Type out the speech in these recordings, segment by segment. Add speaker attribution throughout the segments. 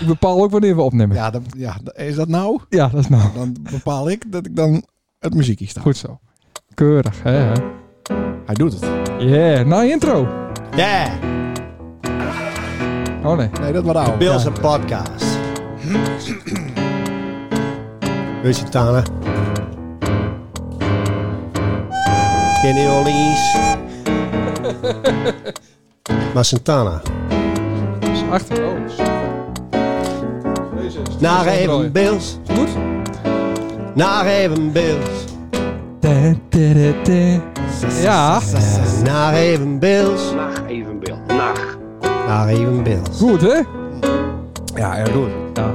Speaker 1: Ik bepaal ook wanneer we opnemen. Ja,
Speaker 2: Ja, dat, ja, is dat nou?
Speaker 1: dat is nou.
Speaker 2: Dan bepaal ik dat ik dan het muziekje sta.
Speaker 1: Goed zo. Keurig, hè?
Speaker 2: Hij doet het.
Speaker 1: Yeah, nou intro.
Speaker 3: Yeah,
Speaker 1: Oh nee.
Speaker 2: Nee, dat was nou.
Speaker 3: Bills een podcast. Weet je het, Tana? Kenny Orleans. maar Santana.
Speaker 1: Dus achter ons. Deze is
Speaker 3: Naar
Speaker 1: is
Speaker 3: even Bills.
Speaker 1: Goed?
Speaker 3: Naar even Bills.
Speaker 1: Ja.
Speaker 3: Eh, Naar even Bills.
Speaker 4: Nacht even Bill. Nacht.
Speaker 3: Naar even Bills.
Speaker 1: Goed, hè?
Speaker 3: Ja, heel goed.
Speaker 1: Ja.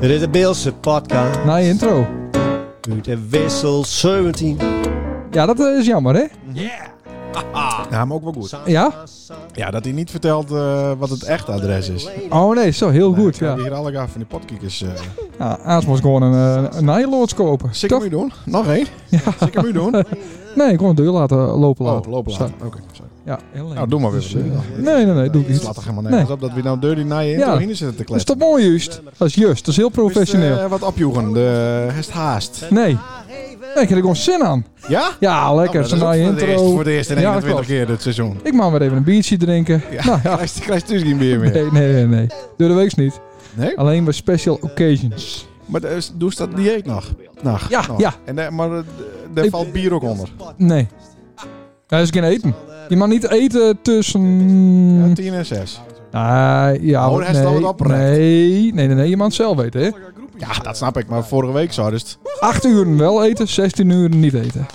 Speaker 3: Dit is de Beelse podcast.
Speaker 1: Na je intro.
Speaker 3: Uit de wissel 17.
Speaker 1: Ja, dat eh, is jammer, hè?
Speaker 2: Ja, maar ook wel goed.
Speaker 1: Ja?
Speaker 2: Ja, dat hij niet vertelt eh, wat het echte adres is.
Speaker 1: Oh nee, zo heel goed,
Speaker 2: Ja.
Speaker 1: ja.
Speaker 2: Hier alle gaaf van die potkiekers. eh
Speaker 1: ja Aans moest gewoon een, eh, een nylords kopen.
Speaker 2: Zeker
Speaker 1: Toch?
Speaker 2: nu doen. Nog één. Zeker nu doen.
Speaker 1: Nee, ik kon het deur laten eh, lopen.
Speaker 2: Oh,
Speaker 1: laten.
Speaker 2: lopen
Speaker 1: Zo.
Speaker 2: laten. Oké, sorry.
Speaker 1: Ja, heel leuk.
Speaker 2: Nou, doe maar weer.
Speaker 1: Dus,
Speaker 2: wat
Speaker 1: eh,
Speaker 2: je wil.
Speaker 1: nee, nee, nee, doe ik
Speaker 2: Het
Speaker 1: niet.
Speaker 2: slaat
Speaker 1: Dat
Speaker 2: er helemaal nergens op dat we nou deur die naar je intro
Speaker 1: Ja.
Speaker 2: heen zitten te
Speaker 1: is
Speaker 2: kletsen.
Speaker 1: toch mooi, juist? Dat is juist, dat is heel professioneel.
Speaker 2: Is, eh, wat opjoegen. De hest haast.
Speaker 1: Nee. Nee, ik heb er gewoon zin aan.
Speaker 2: Ja?
Speaker 1: Ja,
Speaker 2: Nou,
Speaker 1: lekker.
Speaker 2: dat is
Speaker 1: Zo'n
Speaker 2: ook voor,
Speaker 1: na je
Speaker 2: de eerste,
Speaker 1: intro.
Speaker 2: voor de eerste en
Speaker 1: Ja,
Speaker 2: 21
Speaker 1: klopt.
Speaker 2: keer dit seizoen.
Speaker 1: Ik mag maar even een biertje drinken. Nou ja.
Speaker 2: Krijg je krijgt dus geen bier meer.
Speaker 1: Nee, nee, nee, nee. Door de week niet.
Speaker 2: Nee?
Speaker 1: Alleen bij special occasions.
Speaker 2: Maar eh, doe ze dat dieet nog? Nog,
Speaker 1: Ja,
Speaker 2: nog.
Speaker 1: ja.
Speaker 2: En, eh, maar eh, daar
Speaker 1: Ik-
Speaker 2: valt bier ook onder.
Speaker 1: Nee. Dat is geen eten. Je mag niet eten tussen...
Speaker 2: Ja, 10 en 6.
Speaker 1: Ah, ja,
Speaker 2: Oh, hij is
Speaker 1: nee,
Speaker 2: al wat opgerecht.
Speaker 1: nee, nee, nee, nee, je mag het zelf weten, hè.
Speaker 2: Ja, dat snap ik. Maar vorige week zou dus...
Speaker 1: 8 uur wel eten, 16 uur niet eten.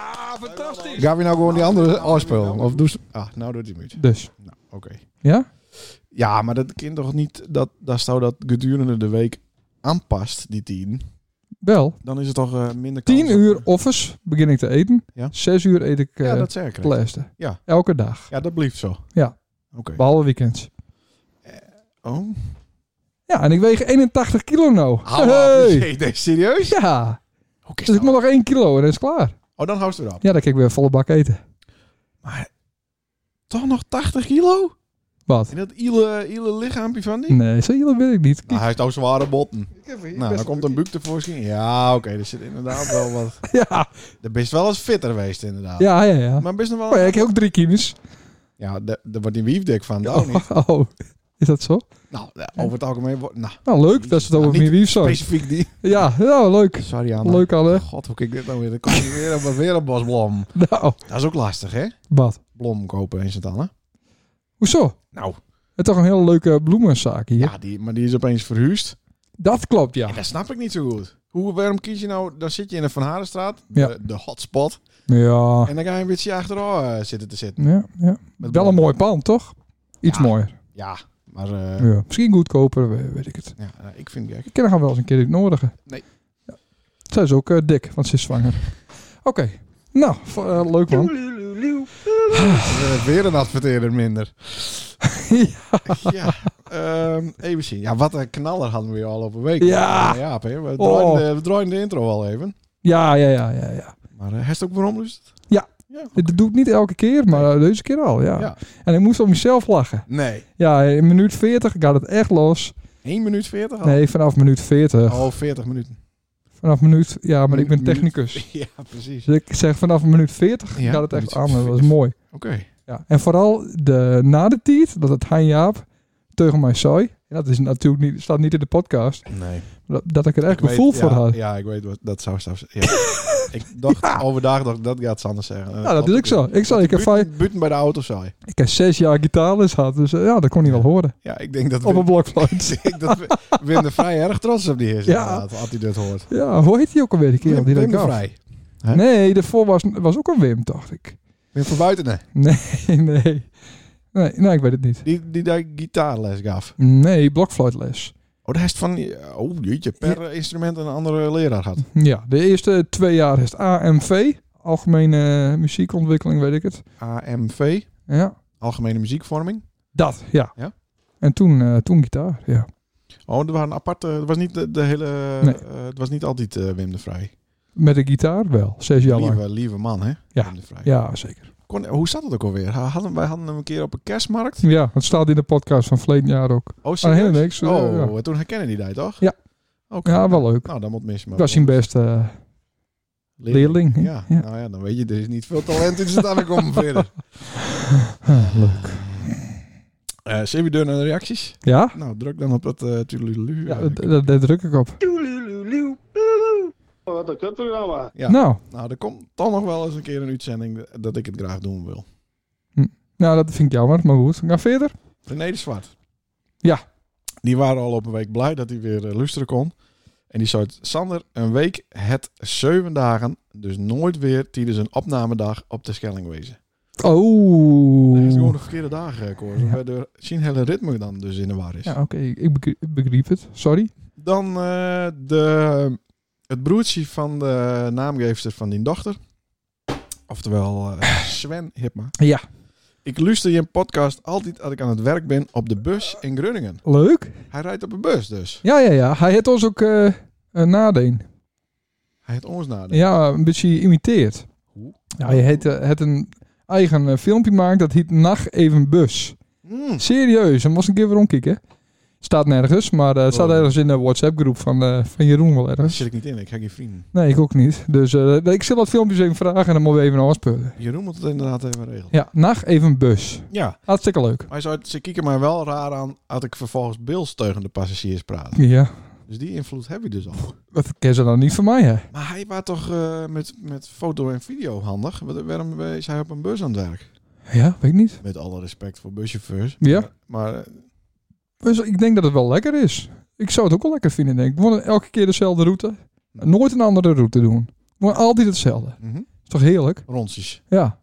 Speaker 2: Gaan we nou gewoon die andere afspelen? Of doe ze... Ah, nou doet hij hem uit.
Speaker 1: Dus,
Speaker 2: Nou, oké.
Speaker 1: ja?
Speaker 2: Ja, maar dat kind toch niet... Dat, dat zou dat gedurende de week aanpast, die 10.
Speaker 1: Wel.
Speaker 2: Dan is het toch eh, minder kans
Speaker 1: 10
Speaker 2: op-
Speaker 1: uur office begin ik te eten.
Speaker 2: Ja.
Speaker 1: 6 uur eet ik eh
Speaker 2: Ja, dat zeker.
Speaker 1: plaster.
Speaker 2: Ja.
Speaker 1: Elke dag.
Speaker 2: Ja, dat blijft zo.
Speaker 1: Ja.
Speaker 2: Oké.
Speaker 1: Behalve weekends.
Speaker 2: Oh.
Speaker 1: Ja, en ik weeg 81 kilo nou.
Speaker 2: Hallo.
Speaker 1: Hey.
Speaker 2: Jee, nee, serieus?
Speaker 1: Ja.
Speaker 2: Hoe is
Speaker 1: Dus ik
Speaker 2: dat?
Speaker 1: moet nog 1 kilo en dan is het klaar.
Speaker 2: Oh, dan houdt ze erop.
Speaker 1: Ja, dan kan ik weer volle bak eten.
Speaker 2: Maar toch nog 80 kilo?
Speaker 1: Wat?
Speaker 2: En dat ile, ile lichaampje van die?
Speaker 1: Nee, zo heel weet ik niet.
Speaker 2: Nou, hij heeft ook zware botten. Nou, dan
Speaker 1: best-
Speaker 2: komt een buik tevoorschijn. Ja, oké, er zit inderdaad wel wat...
Speaker 1: Ja,
Speaker 2: Er bist wel eens fitter geweest, inderdaad.
Speaker 1: ja, ja. ja.
Speaker 2: Maar best nog wel...
Speaker 1: Oh ja, ik heb ook 3 kilo's.
Speaker 2: Ja, daar daar wordt die wiefdek van. dat ook niet.
Speaker 1: Oh, oh. is dat zo?
Speaker 2: Nou, over het algemeen wordt... Nou,
Speaker 1: Nou, leuk dat ze het
Speaker 2: Nou,
Speaker 1: over
Speaker 2: niet
Speaker 1: meer wief zo.
Speaker 2: specifiek die.
Speaker 1: Ja, nou, leuk.
Speaker 2: Sorry, Anne.
Speaker 1: Leuk alle.
Speaker 2: God, hoe kijk ik dit nou weer? Dan kom je weer op een- weer een bosblom.
Speaker 1: Nou,
Speaker 2: Dat is ook lastig, hè?
Speaker 1: wat?
Speaker 2: Blom kopen in Sint-Anne.
Speaker 1: Hoezo?
Speaker 2: Nou,
Speaker 1: Het is toch een hele leuke bloemenzaak hier?
Speaker 2: ja, die, maar die is opeens verhuurd.
Speaker 1: Dat klopt,
Speaker 2: En
Speaker 1: ja.
Speaker 2: dat snap ik niet zo goed. Hoe, waarom kies je nou... Dan zit je in de Van Harenstraat,
Speaker 1: Ja.
Speaker 2: de, de hotspot.
Speaker 1: Ja,
Speaker 2: En dan ga je een beetje achterover eh, zitten te zitten.
Speaker 1: ja, ja.
Speaker 2: Met
Speaker 1: Wel
Speaker 2: blom.
Speaker 1: een mooi pand, toch? Iets
Speaker 2: Ja.
Speaker 1: mooier.
Speaker 2: Ja, maar... eh,
Speaker 1: Ja. Misschien goedkoper, we- weet ik het.
Speaker 2: Ja, nou, ik vind het gek.
Speaker 1: Ik ken haar wel eens een keer in het nodige.
Speaker 2: Nee.
Speaker 1: Ja. Zij is ook eh, dik, want ze is zwanger. Oké. Nou, v- eh, leuk man.
Speaker 2: Eh, Weer een adverteerder minder.
Speaker 1: ja.
Speaker 2: ja, ehm, even zien. Ja, wat een knaller hadden we hier al op een week.
Speaker 1: Ja.
Speaker 2: Eh, Jaap, hè? We,
Speaker 1: Oh.
Speaker 2: draaien de, we draaien de intro al even.
Speaker 1: ja, ja, ja, ja, ja.
Speaker 2: Maar uh, heeft ook waarom dus?
Speaker 1: Ja.
Speaker 2: ja.
Speaker 1: Dit doe ik niet elke keer, maar eh, deze keer al, ja.
Speaker 2: Ja.
Speaker 1: En ik moest om mezelf lachen.
Speaker 2: Nee.
Speaker 1: Ja, in minuut 40 gaat het echt los.
Speaker 2: 1 minuut 40 al?
Speaker 1: Nee, vanaf minuut 40.
Speaker 2: Oh, 40 minuten.
Speaker 1: Vanaf minuut... Ja, maar ik ben
Speaker 2: Minuut-
Speaker 1: technicus.
Speaker 2: ja, precies.
Speaker 1: Dus ik zeg vanaf minuut 40
Speaker 2: Ja,
Speaker 1: gaat het echt
Speaker 2: minuut
Speaker 1: aan. Dat was
Speaker 2: 40.
Speaker 1: mooi.
Speaker 2: Oké.
Speaker 1: Ja. En vooral de, na de tijd, dat het Han Jaap tegen mij zei. En dat is natuurlijk niet, staat niet in de podcast.
Speaker 2: Nee.
Speaker 1: Dat, dat ik er echt
Speaker 2: Ik weet-
Speaker 1: gevoel voor
Speaker 2: ja,
Speaker 1: had. Ja,
Speaker 2: Ja, ik weet wat dat zou zelfs. Ja. ik dacht overdag dat dat gaat ze anders zeggen. Ja,
Speaker 1: Nou, dat is ook zo. Ik zei, ik heb, vijf,
Speaker 2: Buiten bij de auto zei.
Speaker 1: ik heb zes jaar gitaarles gehad, dus eh, ja, dat kon hij wel horen.
Speaker 2: Ja, ik denk dat
Speaker 1: Op een
Speaker 2: Wim,
Speaker 1: blokfluit.
Speaker 2: ik denk dat Wim- Wim de Vrij erg trots op die is.
Speaker 1: Ja.
Speaker 2: Ja. Als hij dit hoort.
Speaker 1: Ja, hoe heet die ook alweer die kerel? Die dat
Speaker 2: Wim de
Speaker 1: gaf?
Speaker 2: Vrij. Hè?
Speaker 1: Nee, daarvoor was, was ook een Wim, dacht ik.
Speaker 2: Wim van Buitenen.
Speaker 1: Nee, nee. Nee, nee ik weet het niet.
Speaker 2: Die, die daar gitaarles gaf.
Speaker 1: Nee, blokfluitles.
Speaker 2: Oh, de rest van... die- Oh, jeetje. Per instrument een andere leraar had.
Speaker 1: Ja, de eerste twee jaar is het AMV. Algemene muziekontwikkeling, weet ik het.
Speaker 2: AMV.
Speaker 1: Ja,
Speaker 2: Algemene muziekvorming.
Speaker 1: dat, ja.
Speaker 2: Ja?
Speaker 1: En toen, eh, toen gitaar, ja.
Speaker 2: Oh, er waren aparte... Het was niet de, de hele...
Speaker 1: Nee.
Speaker 2: eh, het was niet altijd eh, Wim de Vrij.
Speaker 1: Met de gitaar wel, zes jaar lang.
Speaker 2: Lieve, lieve man, hè?
Speaker 1: Ja.
Speaker 2: Wim de Vrij.
Speaker 1: Ja, zeker.
Speaker 2: Kon, hoe zat het ook alweer? Ha- Hadden, wij hadden hem een keer op een kerstmarkt.
Speaker 1: Ja, het staat in de podcast van verleden jaar ook.
Speaker 2: Oh,
Speaker 1: Ah,
Speaker 2: serieus?
Speaker 1: helemaal niks. eh,
Speaker 2: Oh,
Speaker 1: ja.
Speaker 2: en toen herkennen die die toch?
Speaker 1: Ja.
Speaker 2: Oké.
Speaker 1: Ja, wel leuk.
Speaker 2: Nou, dan moet mis. Maar
Speaker 1: Dat was zijn beste eh, leerling. hè?
Speaker 2: Ja.
Speaker 1: Ja.
Speaker 2: nou ja, dan weet je, er is niet veel talent in te komen verder.
Speaker 1: Leuk.
Speaker 2: Eh zijn we door naar de reacties? eh,
Speaker 1: Ja?
Speaker 2: Nou, druk dan op dat eh tudelulu.
Speaker 1: Ja, d- d- daar druk ik op.
Speaker 4: Wat een kutprogramma.
Speaker 2: Ja.
Speaker 1: Nou,
Speaker 2: nou, er komt dan nog wel eens een keer een uitzending dat ik het graag doen wil.
Speaker 1: nou, dat vind ik jammer, maar goed. Ga verder.
Speaker 2: René de Zwart.
Speaker 1: Ja.
Speaker 2: Die waren al op een week blij dat hij weer eh, luisteren kon. En die zei, Sander, een week het zeven dagen, dus nooit weer tijdens een opnamedag op de Schelling wezen.
Speaker 1: Oh.
Speaker 2: Dat is gewoon de verkeerde dagen, eh, Cor.
Speaker 1: Ja.
Speaker 2: Waardoor zijn hele ritme dan dus in de war is.
Speaker 1: Ja, oké. Ik begri- begreep het. Sorry.
Speaker 2: Dan eh, de, het broertje van de naamgeefster van die dochter. Oftewel eh, Sven Hipma.
Speaker 1: Ja.
Speaker 2: Ik luister je podcast altijd als ik aan het werk ben op de bus in Groningen.
Speaker 1: Leuk.
Speaker 2: Hij rijdt op een bus dus.
Speaker 1: Ja, ja, ja. Hij heeft ons ook eh een nadeen.
Speaker 2: Hij heeft ons nadenken.
Speaker 1: Ja, een beetje imiteert.
Speaker 2: Hoe?
Speaker 1: Ja, hij heeft, eh, het een eigen eh, filmpje gemaakt. Dat heet Nacht Even Bus.
Speaker 2: Mm.
Speaker 1: Serieus, dan moest ik een keer weer omkijken. Staat nergens, maar eh, het staat
Speaker 2: Oh.
Speaker 1: ergens in de WhatsApp-groep van, eh, van Jeroen wel
Speaker 2: Daar
Speaker 1: ergens.
Speaker 2: zit ik niet in, ik heb geen vrienden.
Speaker 1: Nee, ik ook niet. Dus eh, ik zal dat filmpje eens even vragen en dan moeten we even afspelen.
Speaker 2: Jeroen moet het inderdaad even regelen.
Speaker 1: Ja, nacht even bus.
Speaker 2: Ja,
Speaker 1: Hartstikke leuk.
Speaker 2: maar zou, ze kieken mij wel raar aan als ik vervolgens beeldsteugende passagiers praat.
Speaker 1: Ja,
Speaker 2: Dus die invloed heb je dus al.
Speaker 1: dat ken ze dan niet van mij, hè?
Speaker 2: Maar hij was toch eh, met, met foto en video handig? Wat- Waarom is hij op een bus aan het werk?
Speaker 1: Ja, weet ik niet.
Speaker 2: Met alle respect voor buschauffeurs.
Speaker 1: Ja.
Speaker 2: Maar, maar, eh,
Speaker 1: Dus ik denk dat het wel lekker is. Ik zou het ook wel lekker vinden, denk ik. Gewoon elke keer dezelfde route. Nooit een andere route doen. Gewoon altijd hetzelfde.
Speaker 2: mhm,
Speaker 1: Is toch heerlijk?
Speaker 2: rondjes.
Speaker 1: Ja.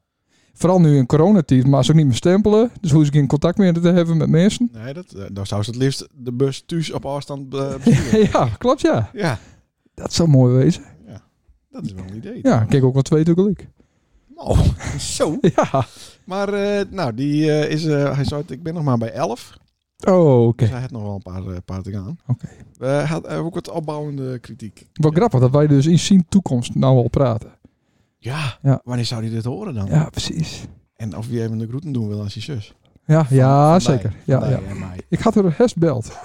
Speaker 1: Vooral nu in coronatijd, maar ze ook niet meer stempelen. Dus hoe ze geen contact meer te hebben met mensen.
Speaker 2: Nee, dat, eh, dan zou ze het liefst de bus thuis op afstand eh, besturen.
Speaker 1: ja, klopt ja.
Speaker 2: ja,
Speaker 1: Dat zou mooi wezen.
Speaker 2: dat is wel een idee.
Speaker 1: Ja, ik kijk ook wel twee tegelijk.
Speaker 2: Nou, zo.
Speaker 1: Ja.
Speaker 2: Maar eh, nou, die eh, is, eh, hij zei, ik ben nog maar bij 11.
Speaker 1: Oh, oké.
Speaker 2: Dus hij had nog wel een paar, eh, paar te gaan.
Speaker 1: Oké.
Speaker 2: We hadden eh, ook wat opbouwende kritiek.
Speaker 1: Wel grappig dat wij dus in zien toekomst nou al praten.
Speaker 2: Ja,
Speaker 1: Ja.
Speaker 2: wanneer zou hij dit horen dan?
Speaker 1: Ja, precies.
Speaker 2: En of je even de groeten doen wil aan zijn zus.
Speaker 1: Ja, ja
Speaker 2: Van mij.
Speaker 1: zeker.
Speaker 2: Van
Speaker 1: Ja,
Speaker 2: mij
Speaker 1: ja.
Speaker 2: en mij.
Speaker 1: Ik had er hest belt.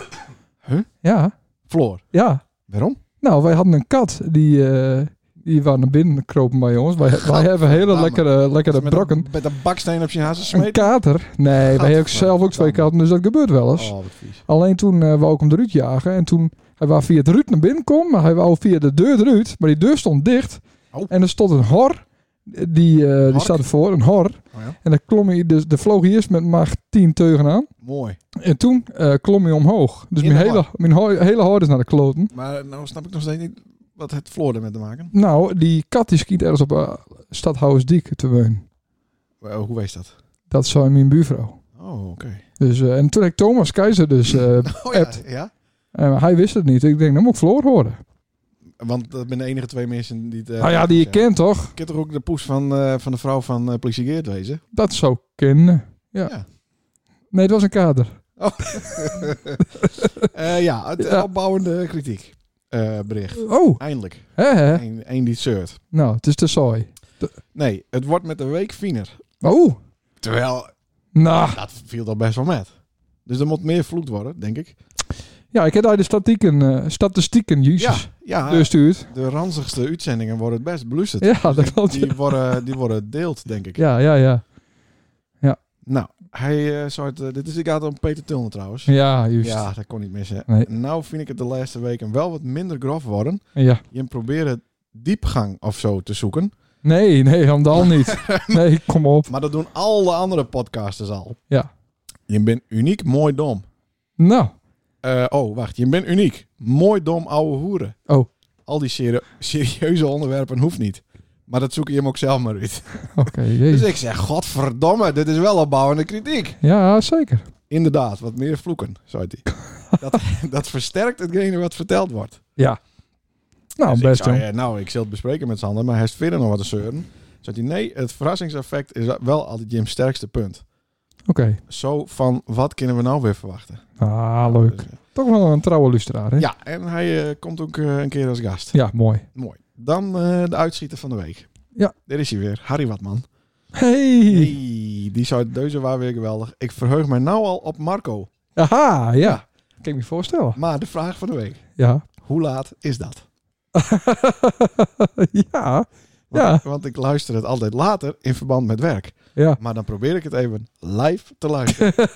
Speaker 2: Huh?
Speaker 1: Ja,
Speaker 2: Floor,
Speaker 1: ja.
Speaker 2: waarom?
Speaker 1: Nou, wij hadden een kat die, eh, die waar naar binnen kropen bij ons. Wij, wij hebben hele
Speaker 2: Gadverdamme.
Speaker 1: lekkere, lekkere
Speaker 2: Met een-
Speaker 1: brokken.
Speaker 2: Met een baksteen op zijn hazen
Speaker 1: Een
Speaker 2: smeten.
Speaker 1: kater? Nee, wij hebben zelf ook twee
Speaker 2: Gadverdamme.
Speaker 1: katten, dus dat gebeurt wel eens.
Speaker 2: Oh, wat vies.
Speaker 1: Alleen toen eh wou ik hem eruit jagen. En toen, hij wou via het ruit naar binnen komen. Maar hij wou via de deur eruit. Maar die deur stond dicht.
Speaker 2: Oh.
Speaker 1: En er stond een hor. Die, eh, die
Speaker 2: Hork?
Speaker 1: staat ervoor, een hor.
Speaker 2: Oh ja.
Speaker 1: En daar klom hij, dus de vloog hij eerst met macht 10 teugen aan.
Speaker 2: Mooi.
Speaker 1: En toen eh, klom hij omhoog. Dus
Speaker 2: In
Speaker 1: mijn
Speaker 2: de
Speaker 1: hele, mijn ho- hele hor is naar de kloten.
Speaker 2: Maar nou snap ik nog steeds niet wat het Floor ermee te maken.
Speaker 1: Nou, die kat die schiet ergens op eh, Stadhuisdiek te wonen.
Speaker 2: Eh, hoe wees dat?
Speaker 1: Dat zou mijn buurvrouw.
Speaker 2: Oh, oké.
Speaker 1: Dus, eh, en toen heb ik Thomas Keizer dus... eh,
Speaker 2: Oh
Speaker 1: Apt.
Speaker 2: ja, ja.
Speaker 1: eh, hij wist het niet. Ik denk, dan moet ik Floor horen.
Speaker 2: Want dat ben de enige twee mensen die het... eh,
Speaker 1: nou ja, die je kent toch?
Speaker 2: Ik ken toch ook de poes van, eh, van de vrouw van eh politie Geert wezen?
Speaker 1: Dat zou ik kennen. Ja.
Speaker 2: Ja.
Speaker 1: Nee, het was een kader.
Speaker 2: Eh, ja, het
Speaker 1: Ja.
Speaker 2: opbouwende kritiek. eh, bericht.
Speaker 1: Oh,
Speaker 2: Eindelijk.
Speaker 1: hè hè.
Speaker 2: Eén één die zeurt.
Speaker 1: Nou, het is te saai.
Speaker 2: Nee, het wordt met de week fiener.
Speaker 1: Oh,
Speaker 2: Terwijl,
Speaker 1: nou.
Speaker 2: dat viel al best wel met. Dus er moet meer vloed worden, denk ik.
Speaker 1: Ja, ik heb daar de statistieken, eh statistieken jezus,
Speaker 2: Ja, ja
Speaker 1: doorstuurd.
Speaker 2: de ranzigste uitzendingen worden het best beluisterd.
Speaker 1: Ah, Ja, dat klopt.
Speaker 2: Die worden, die worden gedeeld, denk ik.
Speaker 1: Ja, ja, ja.
Speaker 2: Nou, hij eh zou het, eh, dit is, ik had om Peter Tilner trouwens.
Speaker 1: Ja, juist. Ja.
Speaker 2: Ja, dat kon niet missen.
Speaker 1: Nee.
Speaker 2: Nou vind ik het de laatste weken wel wat minder grof worden. Je probeert diepgang of zo te zoeken.
Speaker 1: Nee, nee, helemaal niet. Nee, kom op.
Speaker 2: Maar dat doen alle andere podcasters al.
Speaker 1: Ja.
Speaker 2: Je bent uniek, mooi dom.
Speaker 1: Nou,
Speaker 2: Eh, oh, wacht. Je bent uniek. Mooi dom ouwe hoeren.
Speaker 1: Oh.
Speaker 2: Al die seri- serieuze onderwerpen hoeft niet. Maar dat zoek je hem ook zelf maar uit.
Speaker 1: oké.
Speaker 2: Dus
Speaker 1: jezus.
Speaker 2: ik zeg, godverdomme, dit is wel opbouwende kritiek.
Speaker 1: Ja, zeker.
Speaker 2: Inderdaad, wat meer vloeken, zei hij. dat, dat versterkt hetgene wat verteld wordt.
Speaker 1: Nou,
Speaker 2: Dus ik
Speaker 1: best
Speaker 2: zei,
Speaker 1: jong.
Speaker 2: eh, nou, ik zal het bespreken met Sander, maar hij heeft verder nog wat te zeuren. Zei hij, nee, het verrassingseffect is wel altijd Jim's sterkste punt.
Speaker 1: Oké.
Speaker 2: Zo van, wat kunnen we nou weer verwachten?
Speaker 1: Ah, leuk.
Speaker 2: Dus, eh,
Speaker 1: Toch wel een trouwe lustraar, hè?
Speaker 2: ja, en hij eh, komt ook eh, een keer als gast.
Speaker 1: Ja, mooi.
Speaker 2: Mooi. Dan eh, de uitschieter van de week.
Speaker 1: Ja.
Speaker 2: Daar is hij weer, Harry Watman.
Speaker 1: Hey.
Speaker 2: Hey, die zou deuze waar weer geweldig. Ik verheug mij nou al op Marco.
Speaker 1: Aha, ja. Kan ik me voorstellen.
Speaker 2: Maar de vraag van de week.
Speaker 1: Ja.
Speaker 2: Hoe laat is dat?
Speaker 1: ja.
Speaker 2: Want,
Speaker 1: Ja.
Speaker 2: want ik luister het altijd later in verband met werk.
Speaker 1: Ja.
Speaker 2: Maar dan probeer ik het even live te luisteren.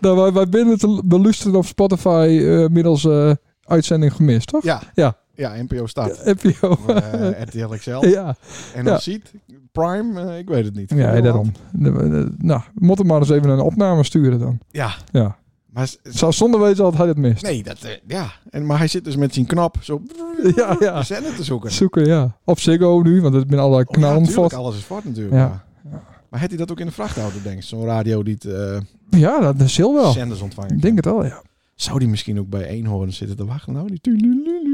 Speaker 1: Nou, wij, wij binnen te beluisteren op Spotify eh, middels eh, uitzending gemist, toch?
Speaker 2: ja.
Speaker 1: Ja.
Speaker 2: Ja, NPO staat.
Speaker 1: NPO.
Speaker 2: Of, eh, RTL XL.
Speaker 1: ja.
Speaker 2: En
Speaker 1: Ja.
Speaker 2: dan ziet Prime, eh, ik weet het niet.
Speaker 1: Ja, daarom. De- de- Nou, moet hem maar eens even een opname sturen dan.
Speaker 2: Ja,
Speaker 1: Ja.
Speaker 2: maar s- s-
Speaker 1: Zou zonder weten dat hij het mist.
Speaker 2: nee, dat, eh, ja. En, maar hij zit dus met zijn knop zo
Speaker 1: Ja, ja.
Speaker 2: de zender te zoeken.
Speaker 1: Zoeken, ja. Op Ziggo nu, want het zijn allerlei
Speaker 2: Oh, ja,
Speaker 1: knallen
Speaker 2: natuurlijk,
Speaker 1: vast.
Speaker 2: alles is fort natuurlijk.
Speaker 1: Ja.
Speaker 2: Maar, maar had hij dat ook in de vrachtauto, denk ik? Zo'n radio die het, eh,
Speaker 1: Ja, dat is heel wel.
Speaker 2: zenders ontvangen
Speaker 1: Ik
Speaker 2: kan.
Speaker 1: denk het wel, ja.
Speaker 2: Zou die misschien ook bij Eenhoorn zitten te wachten? Nou, die tulululu.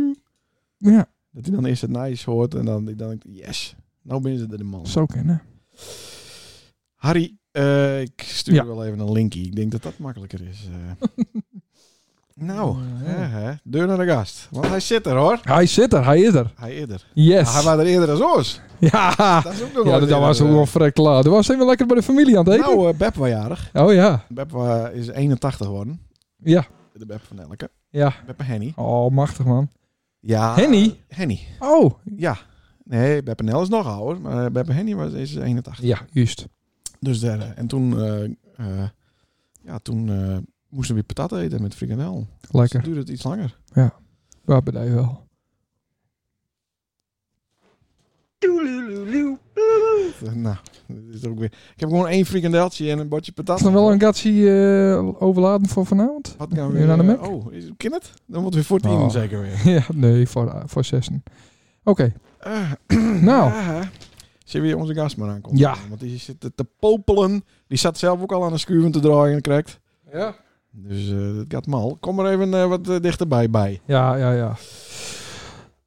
Speaker 1: Ja,
Speaker 2: Dat hij dan eerst het nice hoort en dan, dan denkt, yes, nou ben ze er de man.
Speaker 1: zou kunnen.
Speaker 2: Harry, eh, ik stuur
Speaker 1: Ja.
Speaker 2: wel even een linkie. Ik denk dat dat makkelijker is. eh. nou,
Speaker 1: Ja.
Speaker 2: hè, hè. deur naar de gast. Want hij zit er hoor.
Speaker 1: Hij zit er, hij is er.
Speaker 2: Hij eerder.
Speaker 1: Yes.
Speaker 2: Ah, hij was er eerder dan ons.
Speaker 1: Ja,
Speaker 2: Dat is ook nog
Speaker 1: ja
Speaker 2: wel
Speaker 1: dat,
Speaker 2: eerder,
Speaker 1: was
Speaker 2: eh.
Speaker 1: ook wel vrij klaar. Dat was even lekker bij de familie aan het eten.
Speaker 2: Nou, eh, Beb was jarig.
Speaker 1: oh ja.
Speaker 2: Beb was- is 81 geworden.
Speaker 1: Ja.
Speaker 2: De Beb van Elke.
Speaker 1: Ja.
Speaker 2: Beb en Henny.
Speaker 1: Oh, machtig man.
Speaker 2: Ja.
Speaker 1: Henny?
Speaker 2: Henny.
Speaker 1: Oh.
Speaker 2: Ja. Nee, Beb en El is nog ouder. Maar eh, Beb en Henny was, is 81.
Speaker 1: Ja, juist.
Speaker 2: Dus daar. eh, en toen, eh, eh, ja, toen eh, moesten we weer patat eten met frikandel. Dus
Speaker 1: Lekker.
Speaker 2: toen duurde het iets langer.
Speaker 1: Waar ben jij wel?
Speaker 2: Eh, Nou, dit is ook weer. Ik heb gewoon één frikandeltje en een bordje patat.
Speaker 1: Is er wel een gatsie eh overladen voor vanavond?
Speaker 2: Wat gaan we
Speaker 1: Weer aan de
Speaker 2: eh,
Speaker 1: Mac?
Speaker 2: Oh, is, ken het? Dan wordt het weer voor tien
Speaker 1: Oh.
Speaker 2: zeker weer.
Speaker 1: ja, nee, voor, eh, voor zessen. Oké.
Speaker 2: Eh,
Speaker 1: Nou.
Speaker 2: ja, hè. Zie weer onze gast maar aankomen.
Speaker 1: Ja.
Speaker 2: Want die zit te- te popelen. Die zat zelf ook al aan de schuiven te draaien en krijgt.
Speaker 1: Ja.
Speaker 2: Dus eh, dat gaat mal. Kom er even eh, wat eh, dichterbij bij.
Speaker 1: Ja, ja, ja.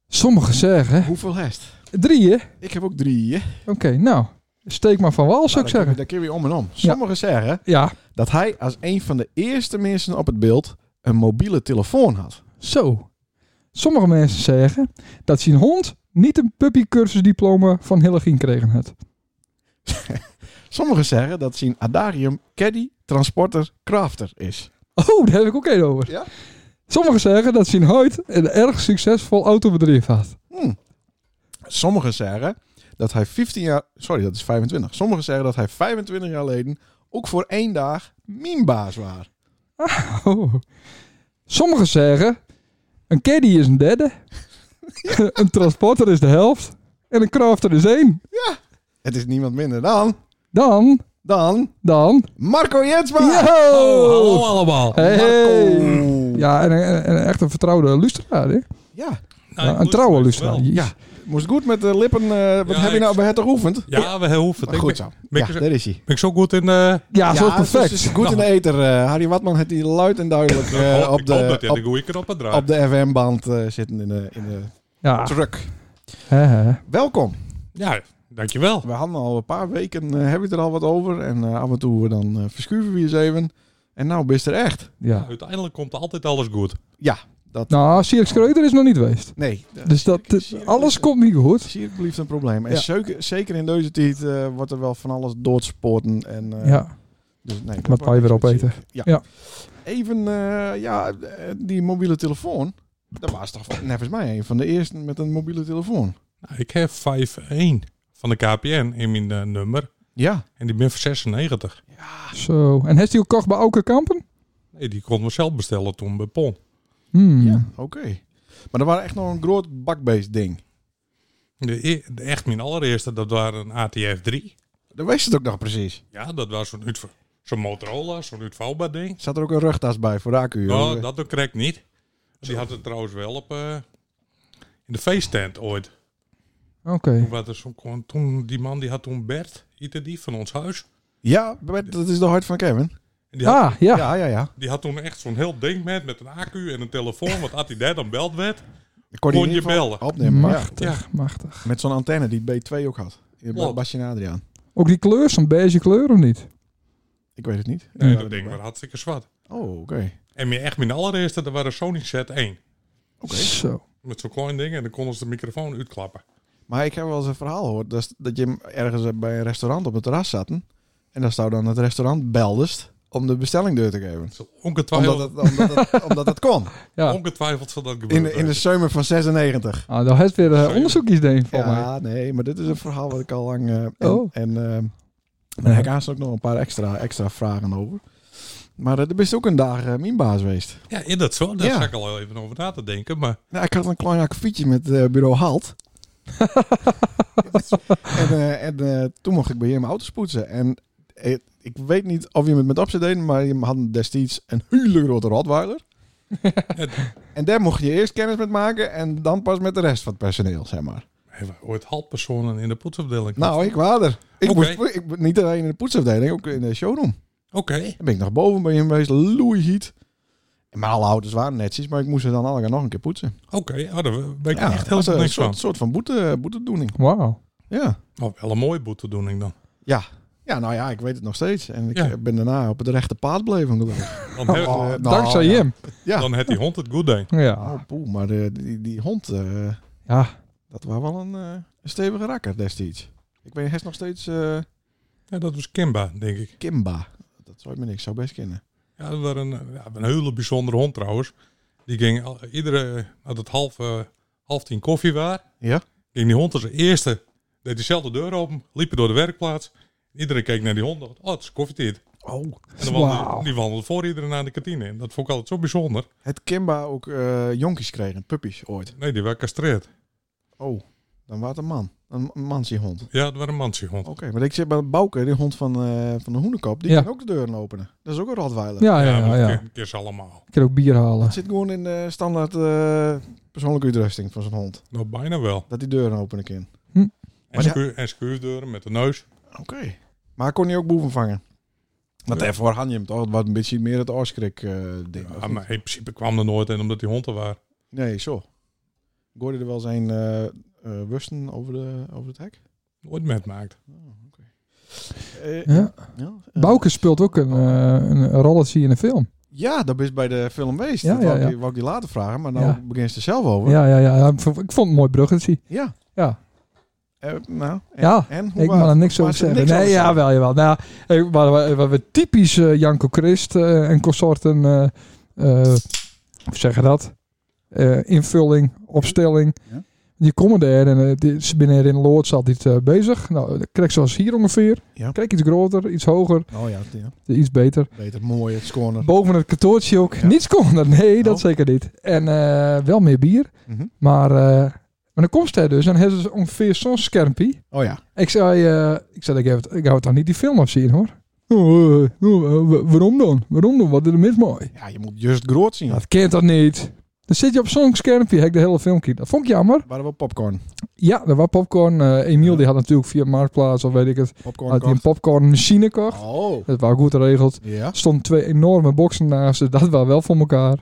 Speaker 1: Sommigen zeggen...
Speaker 2: Hoeveel hest?
Speaker 1: Drie, hè?
Speaker 2: Ik heb ook drie. hè?
Speaker 1: Oké, nou. Steek maar van wal,
Speaker 2: Nou,
Speaker 1: zou
Speaker 2: dan
Speaker 1: ik
Speaker 2: kun je-
Speaker 1: zeggen.
Speaker 2: Dan kun je weer om en om. Sommigen zeggen
Speaker 1: Ja,
Speaker 2: dat hij als een van de eerste mensen op het beeld een mobiele telefoon had.
Speaker 1: zo. Sommige mensen zeggen dat zijn hond niet een puppycursusdiploma van Hillegien kregen had.
Speaker 2: Sommigen zeggen dat zijn Adarium caddy, transporter, crafter is.
Speaker 1: Oh, daar heb ik ook één over.
Speaker 2: Ja?
Speaker 1: Sommigen zeggen dat zijn huid een erg succesvol autobedrijf had.
Speaker 2: Hmm. Sommigen zeggen dat hij 15 jaar... Sorry, dat is 25. Sommigen zeggen dat hij 25 jaar geleden ook voor één dag meme-baas was.
Speaker 1: Oh. Sommigen zeggen, een caddy is een derde, een transporter is de helft en een crafter is één.
Speaker 2: Het is niemand minder dan...
Speaker 1: Dan,
Speaker 2: Dan...
Speaker 1: dan...
Speaker 2: Marco Jetsma!
Speaker 1: Yo!
Speaker 4: Oh, hallo allemaal.
Speaker 1: Hey.
Speaker 2: Ah. Oh, Marco!
Speaker 1: Ja, en, en, en echt een vertrouwde luisteraar, hè?
Speaker 2: Ja,
Speaker 1: Ja,
Speaker 4: Nou, ik
Speaker 1: een
Speaker 4: moest
Speaker 1: trouwe
Speaker 4: het
Speaker 1: luisteraar.
Speaker 4: wel.
Speaker 1: jezus.
Speaker 2: Ja. moest goed met de lippen... eh, wat
Speaker 4: Ja,
Speaker 2: heb je nou
Speaker 4: ik-
Speaker 2: bij het geoefend?
Speaker 4: Ja, we hoeven het.
Speaker 2: Maar goed
Speaker 4: Ik ben,
Speaker 2: zo.
Speaker 4: ben
Speaker 2: Ja,
Speaker 4: ik er-
Speaker 2: daar is hij.
Speaker 4: ben ik zo goed in... eh
Speaker 1: Ja, zo is
Speaker 2: het is-
Speaker 1: perfect.
Speaker 2: dus
Speaker 1: Nou.
Speaker 2: het is goed in de eter. eh, Harry Watman heeft die luid en duidelijk eh,
Speaker 4: ik hoop-
Speaker 2: op
Speaker 4: ik hoop dat
Speaker 2: de,
Speaker 4: je
Speaker 2: op,
Speaker 4: de goede knoppen draait.
Speaker 2: op de FM-band eh, zitten in de, in de
Speaker 1: Ja.
Speaker 2: truck.
Speaker 1: Hè, hè.
Speaker 2: Welkom.
Speaker 4: Ja, dankjewel.
Speaker 2: We hadden al een paar weken, eh, hebben we het er al wat over. En eh, af en toe dan eh, verschuiven we eens even. En nou bist er echt.
Speaker 1: Ja.
Speaker 4: Uiteindelijk komt altijd alles goed.
Speaker 1: Nou, Sirk Kreuter is nog niet geweest.
Speaker 2: Nee.
Speaker 1: Dus dat, dit- alles komt niet goed.
Speaker 2: Zie ik blieft Dus een probleem. En
Speaker 1: Ja.
Speaker 2: zeker, zeker in deze tijd eh, wordt er wel van alles doorsporten. En, eh,
Speaker 1: Ja.
Speaker 2: dus nee, dat
Speaker 1: Wat wij weer
Speaker 2: wordt niks
Speaker 1: opeten.
Speaker 2: met zeer. Ja.
Speaker 1: Ja.
Speaker 2: Even, eh, ja, eh, die mobiele telefoon. Dat was toch nevens mij een van de eersten met een mobiele telefoon.
Speaker 4: Nou, ik heb 5-1 van de KPN in mijn eh, nummer.
Speaker 2: Ja.
Speaker 4: En die ben voor 96.
Speaker 1: Zo. En heeft hij ook gekocht bij Auke Kampen?
Speaker 4: Nee, die kon we zelf bestellen toen bij Pon.
Speaker 1: Hmm.
Speaker 2: Ja, oké. Maar er waren echt nog een groot bakbeest ding.
Speaker 4: De, e- de- echt mijn allereerste, dat waren een ATF 3.
Speaker 2: Daar wist het ook nog precies.
Speaker 4: Ja, dat was zo'n uitv- zo'n Motorola, zo'n uitvouwbaar ding.
Speaker 2: Zat er ook een rugtas bij voor de accu?
Speaker 4: Nou,
Speaker 2: joh?
Speaker 4: dat doe ik niet. Die had het trouwens wel op... eh, in de feesttent ooit.
Speaker 1: Oké.
Speaker 4: Toen, was er zo'n kon- toen die man die had toen Bert, ieder die van ons huis.
Speaker 2: Ja, Bert, dat is de hart van Kevin.
Speaker 4: En die, had,
Speaker 1: Ah, ja.
Speaker 2: Ja, ja, ja.
Speaker 4: die had toen echt zo'n heel ding met, met een accu en een telefoon. Want als hij daar dan beld werd,
Speaker 2: Ik kon,
Speaker 4: Kon
Speaker 2: in ieder
Speaker 4: je
Speaker 2: geval
Speaker 4: bellen?
Speaker 2: Opnemen, ja.
Speaker 1: Machtig, mastig.
Speaker 2: Met zo'n antenne die B2 ook had. In
Speaker 4: Klopt.
Speaker 2: Basje en Adriaan.
Speaker 1: Ook die kleur, zo'n beige kleur of niet?
Speaker 2: Ik weet het niet.
Speaker 4: nee,
Speaker 2: Ja,
Speaker 4: dat ding was hartstikke zwart.
Speaker 2: Oh, oké.
Speaker 4: En mijn, echt mijn allereerste, dat waren Sony Z1.
Speaker 2: Oké.
Speaker 1: Zo.
Speaker 4: Met zo'n klein ding en dan konden ze de microfoon uitklappen.
Speaker 2: Maar ik heb wel eens een verhaal gehoord dat, is- dat je ergens bij een restaurant op het terras zat. En dan zou dan het restaurant beldest om de bestelling door te geven.
Speaker 4: Zo
Speaker 2: Omdat
Speaker 4: Ongetwijfeld,
Speaker 2: het, omdat het, omdat het kon.
Speaker 1: Ja.
Speaker 4: ongetwijfeld zal dat gebeuren.
Speaker 2: In, in de zomer van 96.
Speaker 1: Ah, daar heeft weer
Speaker 4: Sorry.
Speaker 1: eh, onderzoekjes deed voor mij.
Speaker 2: Ja, nee, maar dit is een verhaal wat ik al lang... eh, en,
Speaker 1: Oh.
Speaker 2: en, eh, maar ik haast ook nog een paar extra, extra vragen over. Maar eh, er is ook een dag eh, mijn baas geweest.
Speaker 4: Ja, in dat zo. Daar
Speaker 2: Ja.
Speaker 4: zat ik al even over na te denken. Maar
Speaker 2: Nou, ik had een klein akkefietje met eh, bureau Halt. en eh, en eh, toen mocht ik bij hem auto's poetsen. En eh, ik weet niet of je het met opzet deed, maar je had destijds een hele grote Rottweiler. en daar mocht je eerst kennis met maken en dan pas met de rest van het personeel, zeg maar.
Speaker 4: hebben we ooit halfpersonen in de poetsafdeling?
Speaker 2: Nou, ik was er. Ik
Speaker 4: Oké.
Speaker 2: moest, po- ik, niet alleen in de poetsafdeling, ook in de showroom.
Speaker 4: Oké.
Speaker 2: Dan ben ik nog boven bij hem geweest, loeiheat. Maar alle auto's waren netjes, maar ik moest ze dan allemaal nog een keer poetsen.
Speaker 4: Oké, ah, daar ben ik
Speaker 2: Ja,
Speaker 4: echt
Speaker 2: was
Speaker 4: helemaal
Speaker 2: een
Speaker 4: niks
Speaker 2: soort,
Speaker 4: van.
Speaker 2: soort van boete, boetedoening.
Speaker 1: Wauw.
Speaker 2: Ja.
Speaker 4: Nou, wel een mooie boetedoening dan.
Speaker 2: Ja, nou ja, ik weet het nog steeds. En ik
Speaker 4: Ja.
Speaker 2: eh, ben daarna op het rechte paard blijven geloof ik.
Speaker 4: Dan, heeft
Speaker 2: Oh, nou,
Speaker 1: Dankzij
Speaker 2: ja.
Speaker 1: hem.
Speaker 2: ja.
Speaker 4: dan heeft die hond het goed ding.
Speaker 1: Ja.
Speaker 2: Oh, poeh, maar eh, die, die hond, eh,
Speaker 1: Ja.
Speaker 2: dat was wel een, eh, een stevige rakker destijds. Ik weet, hij is nog steeds eh,
Speaker 4: Ja, dat was Kimba, denk ik.
Speaker 2: Kimba. Dat zou ik me niks, zou best kennen.
Speaker 4: Ja, dat was een, ja, een hele bijzondere hond trouwens. Die ging al- iedere, als het half, eh, half tien koffie was,
Speaker 2: Ja?
Speaker 4: ging die hond als eerste, deed diezelfde deur open, liep door de werkplaats. Iedereen keek naar die hond, dacht, oh, het is koffietijd.
Speaker 2: Oh.
Speaker 4: En dan wandelde-
Speaker 1: Wauw.
Speaker 4: die wandelde voor iedereen naar de kantine. En dat vond ik altijd zo bijzonder.
Speaker 2: Het Kimba ook eh, jonkies kregen, puppies ooit.
Speaker 4: Nee, die werd castreerd.
Speaker 2: Oh, dan was het een man. Een, een mansie hond.
Speaker 4: Ja, dat was een mansiehond.
Speaker 2: Oké, maar ik zit bij Bouke, die hond van, eh, van de hoenenkop, die
Speaker 1: Ja.
Speaker 2: kan ook de deuren openen. Dat is ook een Rottweiler.
Speaker 1: Ah, Ja,
Speaker 4: ja,
Speaker 1: ja,
Speaker 4: maar
Speaker 1: ja.
Speaker 4: dat
Speaker 1: ja.
Speaker 4: ken- ken ze allemaal.
Speaker 1: Ik kan ook bier halen.
Speaker 2: Het zit gewoon in de standaard eh, persoonlijke uitrusting van zo'n hond.
Speaker 4: Nou, bijna wel.
Speaker 2: Dat die deuren openen kan.
Speaker 4: En,
Speaker 2: Maar ja-
Speaker 4: schuur, en schuurdeuren met de
Speaker 1: Oh,
Speaker 4: neus.
Speaker 2: Oké. Maar kon hij ook boeven vangen? Want
Speaker 4: Ja.
Speaker 2: daarvoor had je hem toch? Het was een beetje meer het oorskrik eh, ding. of
Speaker 4: Ja,
Speaker 2: niet?
Speaker 4: maar in principe kwam er nooit in omdat die hond er waren.
Speaker 2: Nee, zo. Ik hoorde er wel zijn eh, eh, wusten over, de, over het hek.
Speaker 4: Nooit met maakt.
Speaker 2: Eh,
Speaker 1: Ja.
Speaker 2: ja, eh,
Speaker 1: Bouke speelt ook een, eh, een rolletje in een film.
Speaker 2: ja, dat is bij de film geweest.
Speaker 1: Ja,
Speaker 2: dat
Speaker 1: ja,
Speaker 2: wou, ik
Speaker 1: ja.
Speaker 2: die- wou ik die later vragen, maar nou
Speaker 1: Ja.
Speaker 2: begint ze er zelf over.
Speaker 1: Ja, ja, ja. Ik vond ik vond het een mooi bruggetje.
Speaker 2: Ja.
Speaker 1: Ja.
Speaker 2: Eh, nou, en,
Speaker 1: Ja,
Speaker 2: en hoe
Speaker 1: Ik
Speaker 2: was
Speaker 1: mag er
Speaker 2: het?
Speaker 1: niks
Speaker 2: Maar
Speaker 1: over
Speaker 2: ze er
Speaker 1: zeggen.
Speaker 2: niks
Speaker 1: Nee,
Speaker 2: over
Speaker 1: ja,
Speaker 2: zeggen?
Speaker 1: wel, jawel. Nou, eh, waar, we- waar we typisch eh, Janko Christ eh, en consorten, eh, eh, hoe zeg je dat? Eh, invulling, opstelling.
Speaker 5: Ja.
Speaker 1: Die komen daar en eh, die- ze binnen in Loords altijd eh, bezig. Nou, dan krijg je zoals hier ongeveer.
Speaker 2: Ja.
Speaker 1: Krijg iets groter, iets hoger,
Speaker 2: Oh ja, het- ja,
Speaker 1: iets beter.
Speaker 2: beter, mooi, het scoren.
Speaker 1: Boven het kantoortje ook.
Speaker 2: Ja.
Speaker 1: Niets kon er. Nee,
Speaker 2: Nou.
Speaker 1: dat zeker niet. En eh, wel meer bier.
Speaker 2: Mhm.
Speaker 1: Maar, eh, maar dan komt hij dus en hebben ze ongeveer zo'n schermpie.
Speaker 2: Oh ja.
Speaker 1: Ik zei, eh, ik zei, ik, heb het, ik hou het dan niet die film afzien hoor. Oh, eh, oh, eh, wa- waarom dan? Waarom dan? Wat is er mis mooi?
Speaker 2: ja, je moet juist groot zien.
Speaker 1: Dat kent dat niet. Dan zit je op zo'n schermpje, heb ik de hele film gekeken. Dat vond ik jammer.
Speaker 2: Waren wel popcorn.
Speaker 1: Ja, er was popcorn. Eh, Emiel
Speaker 2: Ja.
Speaker 1: die had natuurlijk via Marktplaats of weet ik het,
Speaker 2: Popcorn
Speaker 1: had hij een
Speaker 2: kocht.
Speaker 1: popcornmachine kocht.
Speaker 2: Oh.
Speaker 1: Dat was goed geregeld.
Speaker 2: Ja.
Speaker 1: Er stonden twee enorme boksen naast, dus dat was wel voor elkaar.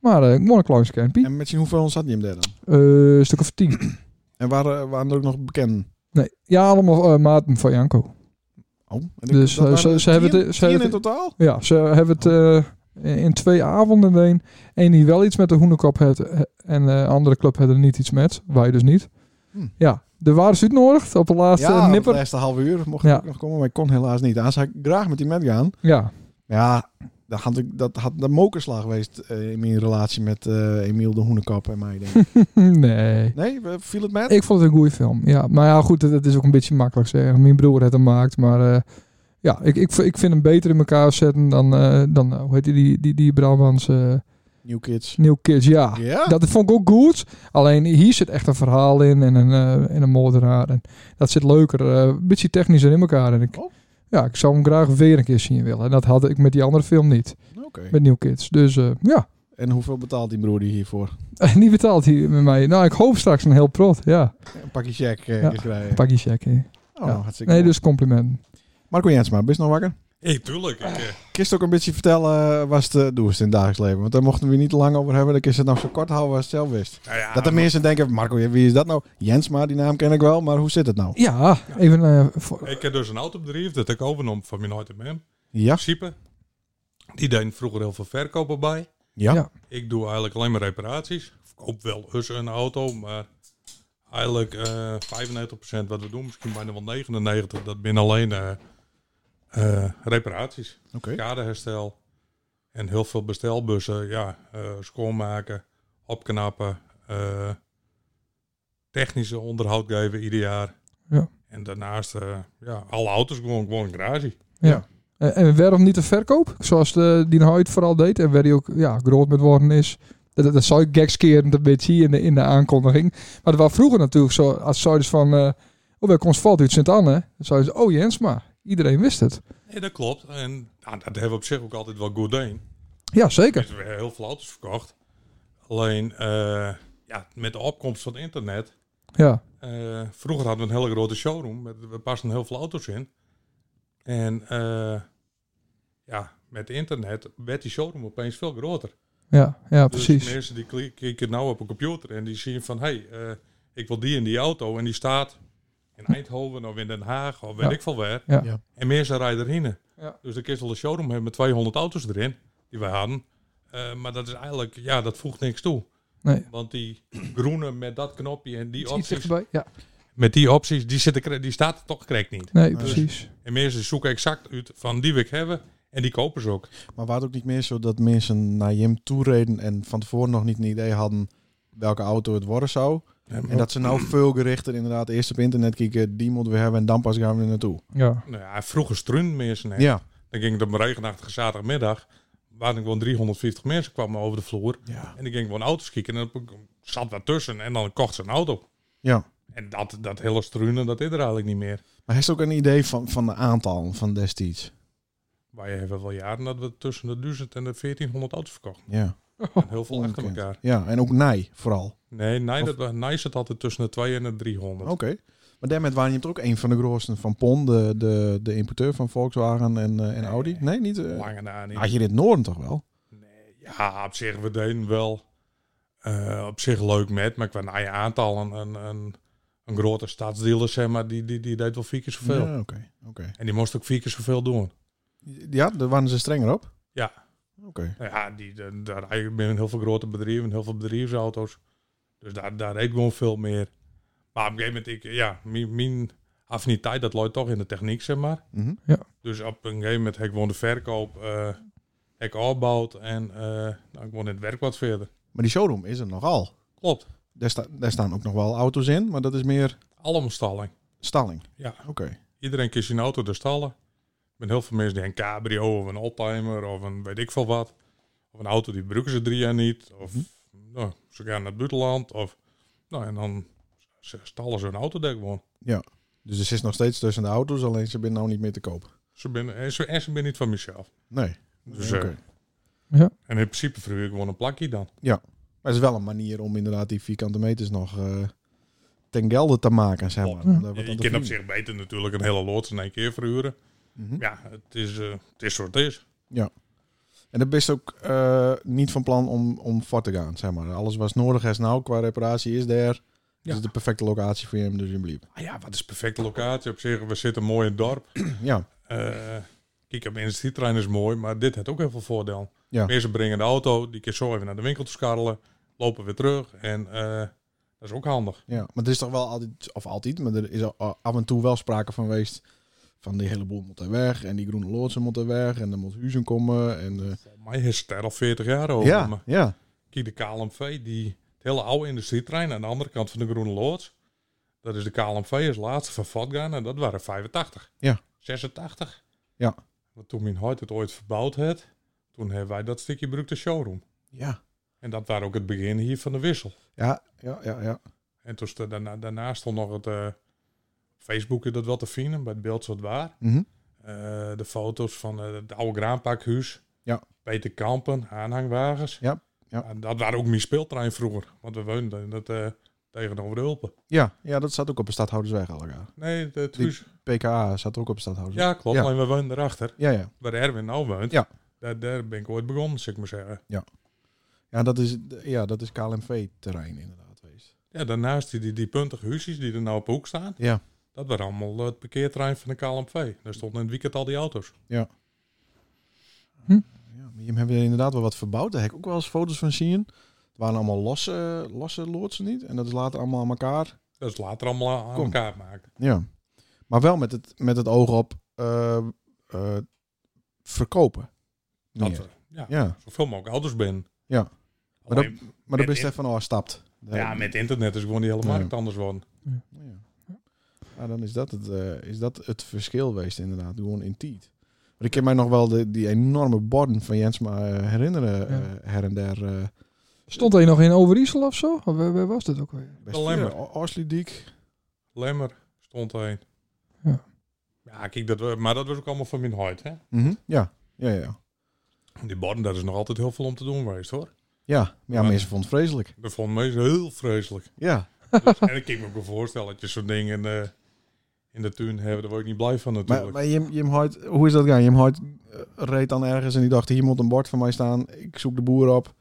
Speaker 1: Maar eh, ik mooi een klein schermpje.
Speaker 2: En met z'n hoeveel zat hij hem daar dan?
Speaker 1: Eh, een stuk of tien.
Speaker 2: En waren, waren er ook nog bekend?
Speaker 1: Nee, ja, allemaal eh, maten van Janko.
Speaker 2: Oh, en ik-
Speaker 1: Dus,
Speaker 2: dat
Speaker 1: eh, ze-
Speaker 2: waren
Speaker 1: ze hebben
Speaker 2: tien-
Speaker 1: het- ze
Speaker 2: tien
Speaker 1: hebben
Speaker 2: in
Speaker 1: het-
Speaker 2: totaal?
Speaker 1: Ja, ze hebben het eh, in twee avonden heen. Eén die wel iets met de hoenekop had eh, en de andere club had er niet iets met. Wij dus niet.
Speaker 2: Hm.
Speaker 1: Ja, de waren ze uitnodigd op de laatste
Speaker 2: Ja, de
Speaker 1: nipper.
Speaker 2: laatste half uur mocht ik
Speaker 1: Ja.
Speaker 2: ook nog komen, maar ik kon helaas niet. Daar zou ik graag met die met gaan.
Speaker 1: Ja,
Speaker 2: Ja, dat had, ik, dat had een mokerslag geweest eh, in mijn relatie met eh Emiel de Hoenekap en mij. Denk ik.
Speaker 1: nee.
Speaker 2: Nee, we- viel het met?
Speaker 1: Ik vond het een goede film. Ja, maar ja, goed, dat, dat is ook een beetje makkelijk zeggen. Mijn broer het hem maakt, maar eh, ja, ik, ik, ik vind hem beter in elkaar zetten dan, eh, dan eh, hoe heet die, die, die, die Brabants eh,
Speaker 2: New Kids.
Speaker 1: New Kids. Ja.
Speaker 2: Ja?
Speaker 1: Dat vond ik ook goed. Alleen hier zit echt een verhaal in en een, eh en een moordenaar. En dat zit leuker, eh, een beetje technischer in elkaar. En ik,
Speaker 2: Oh.
Speaker 1: ja, ik zou hem graag weer een keer zien willen. En dat had ik met die andere film niet.
Speaker 2: Oké.
Speaker 1: Met New Kids. Dus eh, ja,
Speaker 2: En hoeveel betaalt die broer die hiervoor?
Speaker 1: en die betaalt hier met mij. Nou, ik hoop straks een heel prot. Ja,
Speaker 2: Een pakje check eh,
Speaker 1: Ja.
Speaker 2: is krijgen.
Speaker 1: een pakje check. hè.
Speaker 2: Oh,
Speaker 1: ja.
Speaker 2: hartstikke
Speaker 1: Nee,
Speaker 2: mooi.
Speaker 1: dus complimenten.
Speaker 2: Marco Jensma, best nog wakker?
Speaker 4: Hé, tuurlijk. Ik, eh,
Speaker 2: Kist ook een beetje vertellen eh, wat het doe in het dagelijks leven. Want daar mochten we niet te lang over hebben. Dan kun je het nog zo kort houden als je het zelf wist.
Speaker 4: nou ja,
Speaker 2: Dat de mensen denken, Marco, wie is dat nou? Jensma, die naam ken ik wel, maar hoe zit het nou?
Speaker 1: Ja, even eh, voor-
Speaker 4: Ik heb dus een autobedrijf dat ik overnoem van mijn uit man.
Speaker 2: Ja,
Speaker 4: In principe, die deed vroeger heel veel verkopen bij.
Speaker 2: ja.
Speaker 1: Ja.
Speaker 4: Ik doe eigenlijk alleen maar reparaties. Ik koop wel eens een auto, maar eigenlijk eh 95% wat we doen, misschien bijna wel 99%, dat binnen alleen eh, eh, reparaties.
Speaker 2: Oké.
Speaker 4: Kadeherstel. En heel veel bestelbussen, ja, eh, schoonmaken, opknappen, eh, technische onderhoud geven ieder jaar.
Speaker 1: Ja.
Speaker 4: En daarnaast, eh, ja, alle auto's gewoon, gewoon een garage.
Speaker 1: En, en waarom niet de verkoop? Zoals de, die Hoyt vooral deed. En waar hij ook ja, groot met worden is. Dat, dat, dat zou ik gekskerend een beetje in de, in de aankondiging. Maar dat was vroeger natuurlijk zo. Als zoiets van... eh oh, bij ons valt uit Sint-Anne. Dan zou je zeggen, oh Jensma. Iedereen wist het.
Speaker 4: Nee, dat klopt. En nou, dat hebben we op zich ook altijd wel goed gedaan.
Speaker 1: Ja, zeker.
Speaker 4: Dus we hebben heel veel auto's verkocht. Alleen, eh, ja, met de opkomst van internet
Speaker 1: Ja.
Speaker 4: Eh, vroeger hadden we een hele grote showroom. Met, we pasten heel veel auto's in. En eh, ja, met internet werd die showroom opeens veel groter.
Speaker 1: Ja, ja
Speaker 4: Dus
Speaker 1: precies.
Speaker 4: mensen die kli- kijken nou op een computer en die zien van... hé, hey, eh, ik wil die in die auto en die staat in Eindhoven of in Den Haag of weet
Speaker 1: Ja.
Speaker 4: ik veel waar.
Speaker 1: Ja.
Speaker 2: Ja.
Speaker 4: En mensen rijden erin.
Speaker 1: Ja.
Speaker 4: Dus de kist al een showroom hebben met 200 auto's erin die wij hadden. Eh, maar dat is eigenlijk, ja, dat voegt niks toe.
Speaker 1: Nee.
Speaker 4: Want die groene met dat knopje en die
Speaker 1: Iets, iets
Speaker 4: opties
Speaker 1: dichterbij. Ja.
Speaker 4: met die opties, die, zitten, kre- die staat er toch krek niet.
Speaker 1: Nee,
Speaker 2: Nee.
Speaker 1: precies.
Speaker 4: En mensen zoeken exact uit van die wil ik hebben en die kopen ze ook.
Speaker 2: Maar waar het ook niet meer zo dat mensen naar Jim toe reden en van tevoren nog niet een idee hadden welke auto het worden zou. En dat ze nou veel gerichter inderdaad eerst op internet kijken, die moeten we hebben en dan pas gaan we er naartoe.
Speaker 1: Ja.
Speaker 4: Nou ja, vroeger strunden mensen. hè.
Speaker 2: Ja.
Speaker 4: Dan ging het op een regenachtige zaterdagmiddag, waar ik gewoon 350 mensen kwamen over de vloer. En die ging gewoon auto's kijken en dan zat wat tussen en dan kocht ze een auto.
Speaker 2: Ja.
Speaker 4: En dat, dat hele struinen, dat is er eigenlijk niet meer.
Speaker 2: Maar heeft ook een idee van, van de aantal van destijds?
Speaker 4: Wij hebben wel jaren dat we tussen de 1000 en de 1400 auto's verkochten.
Speaker 2: Ja.
Speaker 4: En heel veel achter
Speaker 2: Ongekend.
Speaker 4: elkaar.
Speaker 2: Ja, en ook nij vooral.
Speaker 4: Nee, nee,
Speaker 2: Of- Oh,
Speaker 4: dat, wa- nee zit altijd tussen de 200 en de 300.
Speaker 2: Oké. Maar daarmee waren je hebt ook een van de grootste van PON, de, de, de importeur van Volkswagen en, eh, en Audi. Nee, niet? eh,
Speaker 4: Lange na niet.
Speaker 2: had je dit in het noorden toch wel?
Speaker 4: Ja, op zich, we deden wel eh, op zich leuk met, maar qua eigen aantal een, een, een, een grote stadsdealer, zeg maar, die, die, die deed wel vier keer zoveel.
Speaker 2: Ja, oké. oké.
Speaker 4: En die moest ook vier keer zoveel doen.
Speaker 2: Ja, daar waren ze strenger op?
Speaker 4: Ja.
Speaker 2: Oké.
Speaker 4: Nou Ja, die, de- daar rij je binnen heel veel grote bedrijven, heel veel bedrijfsauto's. Dus daar, daar reed ik gewoon veel meer. Maar op een gegeven moment, ik, ja, mijn, mijn affiniteit, dat loopt toch in de techniek, zeg maar.
Speaker 2: Mhm.
Speaker 4: Dus op een gegeven moment heb ik gewoon de verkoop, eh heb ik opbouwd en eh nou, ik woon in het werk wat verder.
Speaker 2: Maar die showroom is er nogal.
Speaker 4: Klopt,
Speaker 2: Daar, sta- daar staan ook nog wel auto's in, maar dat is meer
Speaker 4: allemaal
Speaker 2: stalling.
Speaker 4: Ja.
Speaker 2: Oké.
Speaker 4: Iedereen kiest zijn auto te stallen. Ik ben heel veel mensen die een cabrio of een oldtimer of een weet ik veel wat. Of een auto die gebruiken ze drie jaar niet. Of nou, ze gaan naar het buitenland. Of, nou, en dan ze- stallen ze hun auto daar gewoon.
Speaker 2: Dus er zit nog steeds tussen de auto's, alleen ze zijn nou niet meer te koop.
Speaker 4: Ze ben, en, ze, en ze ben niet van mezelf.
Speaker 2: Nee.
Speaker 4: Dus,
Speaker 2: Oké.
Speaker 4: eh, En in principe verhuur ik gewoon een plakje dan.
Speaker 2: Maar het is wel een manier om inderdaad die vierkante meters nog eh, ten gelde te maken, zeg maar.
Speaker 4: Klopt.
Speaker 2: Om daar wat aan
Speaker 4: Je
Speaker 2: te
Speaker 4: kunt op
Speaker 2: verdienen.
Speaker 4: zich beter natuurlijk een hele loods in één keer verhuren.
Speaker 2: Mhm.
Speaker 4: Ja, het is, eh, het is zoals het is.
Speaker 2: En dat best ook eh, niet van plan om, om voor te gaan, zeg maar. Alles wat nodig is nou qua reparatie is daar.
Speaker 4: Ja.
Speaker 2: Is het de perfecte locatie voor hem, dus je blieb.
Speaker 4: Ah ja, wat is perfecte locatie op zich. We zitten mooi in het dorp.
Speaker 2: Ja,
Speaker 4: Eh, kijk, op industrietrein is mooi, maar dit heeft ook heel veel voordeel.
Speaker 2: Ja.
Speaker 4: Mensen brengen de auto, die keer zo even naar de winkel te scharrelen, lopen weer terug en eh, dat is ook handig.
Speaker 2: ja. Maar er is toch wel altijd, of altijd, maar er is al- af en toe wel sprake van geweest van die hele boel moet er weg en die groene loodsen moeten weg en er moet huizen komen en... eh,
Speaker 4: Volgens mij is het er al 40 jaar over.
Speaker 2: ja,
Speaker 4: maar
Speaker 2: ja.
Speaker 4: Kijk, de KLMV, die het hele oude industrietrein aan de andere kant van de Groene Loods, dat is de KLMV als laatste van Vatgaan en dat waren 85.
Speaker 2: Ja.
Speaker 4: 86.
Speaker 2: Ja.
Speaker 4: Want toen mijn huid het ooit verbouwd had, toen hebben wij dat stukje bruk de showroom.
Speaker 2: Ja.
Speaker 4: En dat waren ook het begin hier van de wissel.
Speaker 2: Ja, ja, ja, ja.
Speaker 4: En toen sta- daarna, daarnaast stond nog het eh, Facebook is dat wel te vinden, bij het beeld wat waar.
Speaker 2: Mhm.
Speaker 4: Eh, de foto's van eh, het oude graanpakhuis.
Speaker 2: Ja.
Speaker 4: Peter Kampen, aanhangwagens.
Speaker 2: Ja, ja.
Speaker 4: En dat waren ook mijn speeltrein vroeger, want we woonden in dat, eh, tegenover de Hulpen.
Speaker 2: ja. Ja, dat staat ook op de Stadhoudersweg al elkaar.
Speaker 4: Nee, het- het
Speaker 2: Die-
Speaker 4: huis.
Speaker 2: PKA staat ook op de Stadhoudersweg.
Speaker 4: Ja, klopt.
Speaker 2: Ja.
Speaker 4: Alleen we woonden erachter,
Speaker 2: Ja, ja.
Speaker 4: waar Erwin nou woont.
Speaker 2: Ja.
Speaker 4: Daar, daar ben ik ooit begonnen, zou ik maar zeggen.
Speaker 2: Ja, dat is, ja, dat is KLMV-terrein inderdaad geweest.
Speaker 4: Ja, daarnaast die, die, die puntige huisjes die er nou op de hoek staan.
Speaker 2: Ja.
Speaker 4: Dat waren allemaal eh, het parkeertrein van de KLMV. Daar stonden in het weekend al die auto's.
Speaker 2: Ja, maar je hebt er inderdaad wel wat verbouwd. Daar heb ik ook wel eens foto's van zien. Het waren allemaal losse, losse loodsen niet. En dat is later allemaal aan elkaar
Speaker 4: Dat is later allemaal aan
Speaker 2: Kom.
Speaker 4: elkaar maken.
Speaker 2: Ja. Maar wel met het, met het oog op eh, eh, verkopen.
Speaker 4: Dat,
Speaker 2: Meer.
Speaker 4: eh, ja,
Speaker 2: Ja.
Speaker 4: Zoveel mogelijk ouders ben.
Speaker 2: Ja. Maar dat-
Speaker 4: Alleen,
Speaker 2: Maar
Speaker 4: Met
Speaker 2: dat ben
Speaker 4: in-
Speaker 2: Stefan al stapt.
Speaker 4: ja, met internet is gewoon die hele
Speaker 2: Ja.
Speaker 4: markt anders geworden.
Speaker 2: Ja. Ja, dan is dat, het, eh, is dat het verschil geweest inderdaad. Gewoon in tijd. Want ik kan mij nog wel de, die enorme borden van Jensma eh, herinneren.
Speaker 1: Ja.
Speaker 2: eh, her en der. eh
Speaker 1: Stond hij nog in Overijssel of zo? Of Waar, waar was dat ook weer?
Speaker 2: best
Speaker 4: Lemmer.
Speaker 2: veel. O- Oorsluitdijk.
Speaker 4: Lemmer stond hij.
Speaker 1: Ja.
Speaker 4: Ja, kijk, dat, we- maar dat was ook allemaal van mijn huid, hè.
Speaker 2: Mhm, Ja. Ja, ja, ja.
Speaker 4: Die borden, dat is nog altijd heel veel om te doen geweest, hoor.
Speaker 2: Ja, ja
Speaker 4: Maar-
Speaker 2: mensen vonden het vreselijk.
Speaker 4: Dat vond mensen heel vreselijk.
Speaker 2: Ja.
Speaker 4: Dus- en ik kan me ook wel voorstellen dat je zo'n ding in de, in de tuin hebt. Daar word ik niet blij van natuurlijk.
Speaker 2: Maar, maar Jim, Jim Hoyt, hoe is dat gaan? Jim Hoyt eh, reed dan ergens en die dacht, hier moet een bord van mij staan. Ik zoek de boer op.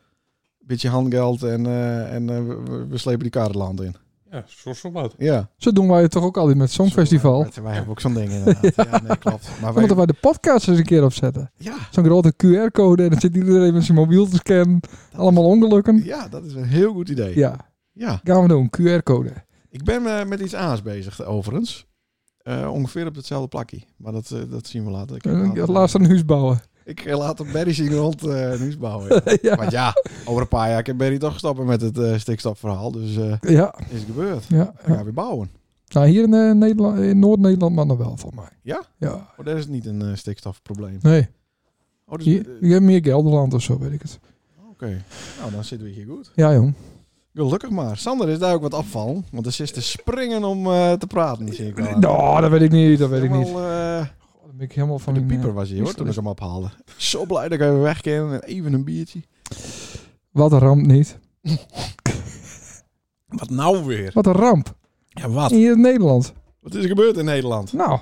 Speaker 2: Beetje handgeld en, eh, en eh, we- we, we slepen die kar het land in.
Speaker 4: Ja, zo, zo wat.
Speaker 2: Ja.
Speaker 1: Zo doen wij het toch ook altijd met het Songfestival.
Speaker 2: Wij, wij hebben ook zo'n ding inderdaad. ja. nee, klopt. Maar
Speaker 1: Dan moeten
Speaker 2: wij,
Speaker 1: wij de podcast eens een keer opzetten.
Speaker 2: ja,
Speaker 1: Zo'n grote QR-code en dan zit iedereen met zijn mobiel te scannen. Allemaal ongelukken.
Speaker 2: ja, dat is een heel goed idee. Ja.
Speaker 1: Ja, gaan we doen. QR-code.
Speaker 2: Ik ben eh, met iets aans bezig overigens. Eh, ongeveer op hetzelfde plakje. Maar dat, eh, dat zien we later. Ik,
Speaker 1: En
Speaker 2: laat,
Speaker 1: Laatst een huis bouwen.
Speaker 2: ik laat een Barry zien rond eh nieuws bouwen. ja.
Speaker 1: ja.
Speaker 2: Want ja, over een paar jaar kan Barry toch stoppen met het eh, stikstofverhaal. Dus eh,
Speaker 1: Ja,
Speaker 2: is gebeurd.
Speaker 1: ja,
Speaker 2: Dan gaan
Speaker 1: ja.
Speaker 2: we weer bouwen.
Speaker 1: Nou, hier in, eh, Nederland, in Noord-Nederland mag nog wel, van mij.
Speaker 2: Ja?
Speaker 1: Ja.
Speaker 2: Oh, dat is niet een eh, stikstofprobleem.
Speaker 1: Nee,
Speaker 2: Oh, dus, eh,
Speaker 1: hier, je hebt meer Gelderland of zo, weet ik het.
Speaker 2: Oké. Nou, dan zitten we hier goed.
Speaker 1: Ja, jong.
Speaker 2: Gelukkig maar. Sander is daar ook wat afval. Want er zit te springen om eh, te praten. Zie ik wel.
Speaker 1: Nou, dat weet ik niet, dat weet ik niet.
Speaker 2: Helemaal, eh,
Speaker 1: God, dan ben ik helemaal van
Speaker 2: de
Speaker 1: mijn, eh,
Speaker 2: pieper was hij hoor, toen ik
Speaker 1: is-
Speaker 2: hem ophaalde. Zo blij dat ik even weg kan en even een biertje.
Speaker 1: Wat een ramp niet.
Speaker 2: Wat nou weer?
Speaker 1: Wat een ramp.
Speaker 2: Ja, wat?
Speaker 1: Hier in Nederland.
Speaker 2: Wat is er gebeurd in Nederland?
Speaker 1: Nou,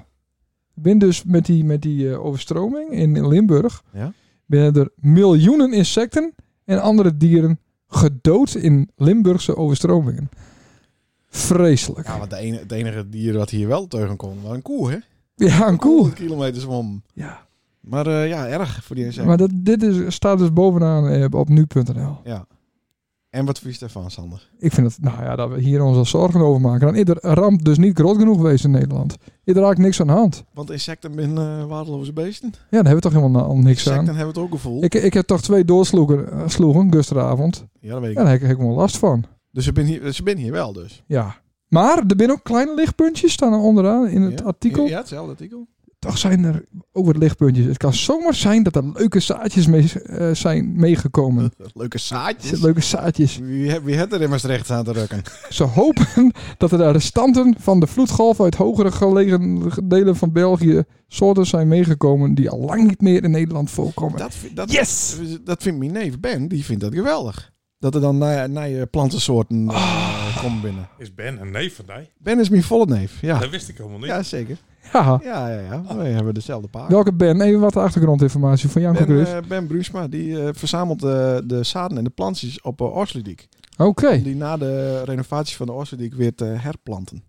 Speaker 1: ik ben dus met die, met die eh, overstroming in Limburg.
Speaker 2: Ja.
Speaker 1: Binnen er miljoenen insecten en andere dieren gedood in Limburgse overstromingen. Vreselijk.
Speaker 2: Ja, want de ene- het enige dier wat hier wel teugen kon, was een koe, hè?
Speaker 1: Ja, een koe.
Speaker 2: 100 kilometer zwom.
Speaker 1: Ja.
Speaker 2: Maar eh, ja, erg voor die insecten.
Speaker 1: Maar dat, dit is, staat dus bovenaan eh, op nu.nl.
Speaker 2: En wat vies daarvan, Sander?
Speaker 1: Ik vind het, nou ja, dat we hier ons al zorgen over maken. Dan is de ramp dus niet groot genoeg geweest in Nederland. Is er eigenlijk niks aan de hand.
Speaker 2: Want insecten zijn eh waardeloze beesten.
Speaker 1: Ja, daar hebben we toch helemaal na- al niks
Speaker 2: Insecten
Speaker 1: aan.
Speaker 2: hebben het ook gevoel.
Speaker 1: Ik, ik heb toch twee doorsloegen eh, sloegen, gisteravond.
Speaker 2: Ja, dat weet ik.
Speaker 1: Ja, daar heb ik helemaal last van.
Speaker 2: Dus ze ben hier, ze ben hier wel dus.
Speaker 1: Ja. Maar er zijn ook kleine lichtpuntjes staan er onderaan in het
Speaker 2: Ja?
Speaker 1: artikel.
Speaker 2: Ja, hetzelfde artikel.
Speaker 1: Toch zijn er ook wat lichtpuntjes. Het kan zomaar zijn dat er leuke zaadjes mee eh, zijn meegekomen.
Speaker 2: Leuke
Speaker 1: Er zitten
Speaker 2: zaadjes.
Speaker 1: Leuke zaadjes.
Speaker 2: Wie, heb- wie had er in Maastricht aan te rukken?
Speaker 1: Ze hopen dat er de restanten van de vloedgolf uit hogere gelegen delen van België soorten zijn meegekomen die al lang niet meer in Nederland voorkomen.
Speaker 2: Dat, vind- dat,
Speaker 1: Yes!
Speaker 2: dat vindt mijn neef Ben, die vindt dat geweldig. Dat er dan na- na je plantensoorten eh,
Speaker 4: Ah.
Speaker 2: komen binnen.
Speaker 4: Is Ben een neef van mij?
Speaker 2: Ben is mijn volle neef, ja.
Speaker 4: Dat wist ik helemaal niet.
Speaker 2: Ja, zeker.
Speaker 1: Ja.
Speaker 2: Ja, ja, ja. Wij hebben dezelfde paard.
Speaker 1: Welke Ben? Even wat achtergrondinformatie van Janko
Speaker 2: Ben,
Speaker 1: Cruz.
Speaker 2: eh, ben Bruusma, die eh, verzamelt eh, de zaden en de plantjes op uh,
Speaker 1: Oké.
Speaker 2: Om die na de renovatie van de Oosterdiek weer te herplanten.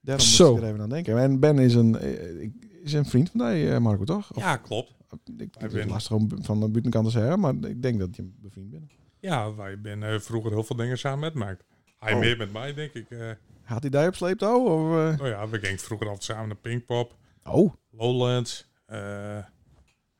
Speaker 2: Daarom
Speaker 1: Zo.
Speaker 2: moet ik er even aan denken. En Ben is een, eh, ik- is een vriend van mij, eh, Marco, toch? Of,
Speaker 4: Ja, klopt.
Speaker 2: ik,
Speaker 4: Hij
Speaker 2: het is
Speaker 4: Ben.
Speaker 2: lastig om bu- van de buitenkant te zeggen, maar ik denk dat je een bevriend bent.
Speaker 4: Ja, wij ben eh, vroeger heel veel dingen samen met maakt. Hij
Speaker 2: Oh.
Speaker 4: meer met mij, denk ik. eh.
Speaker 2: Had hij daar op sleeptouw? Of, eh?
Speaker 4: nou ja, we gingen vroeger altijd samen naar Pinkpop,
Speaker 2: Oh,
Speaker 4: Lowlands. eh,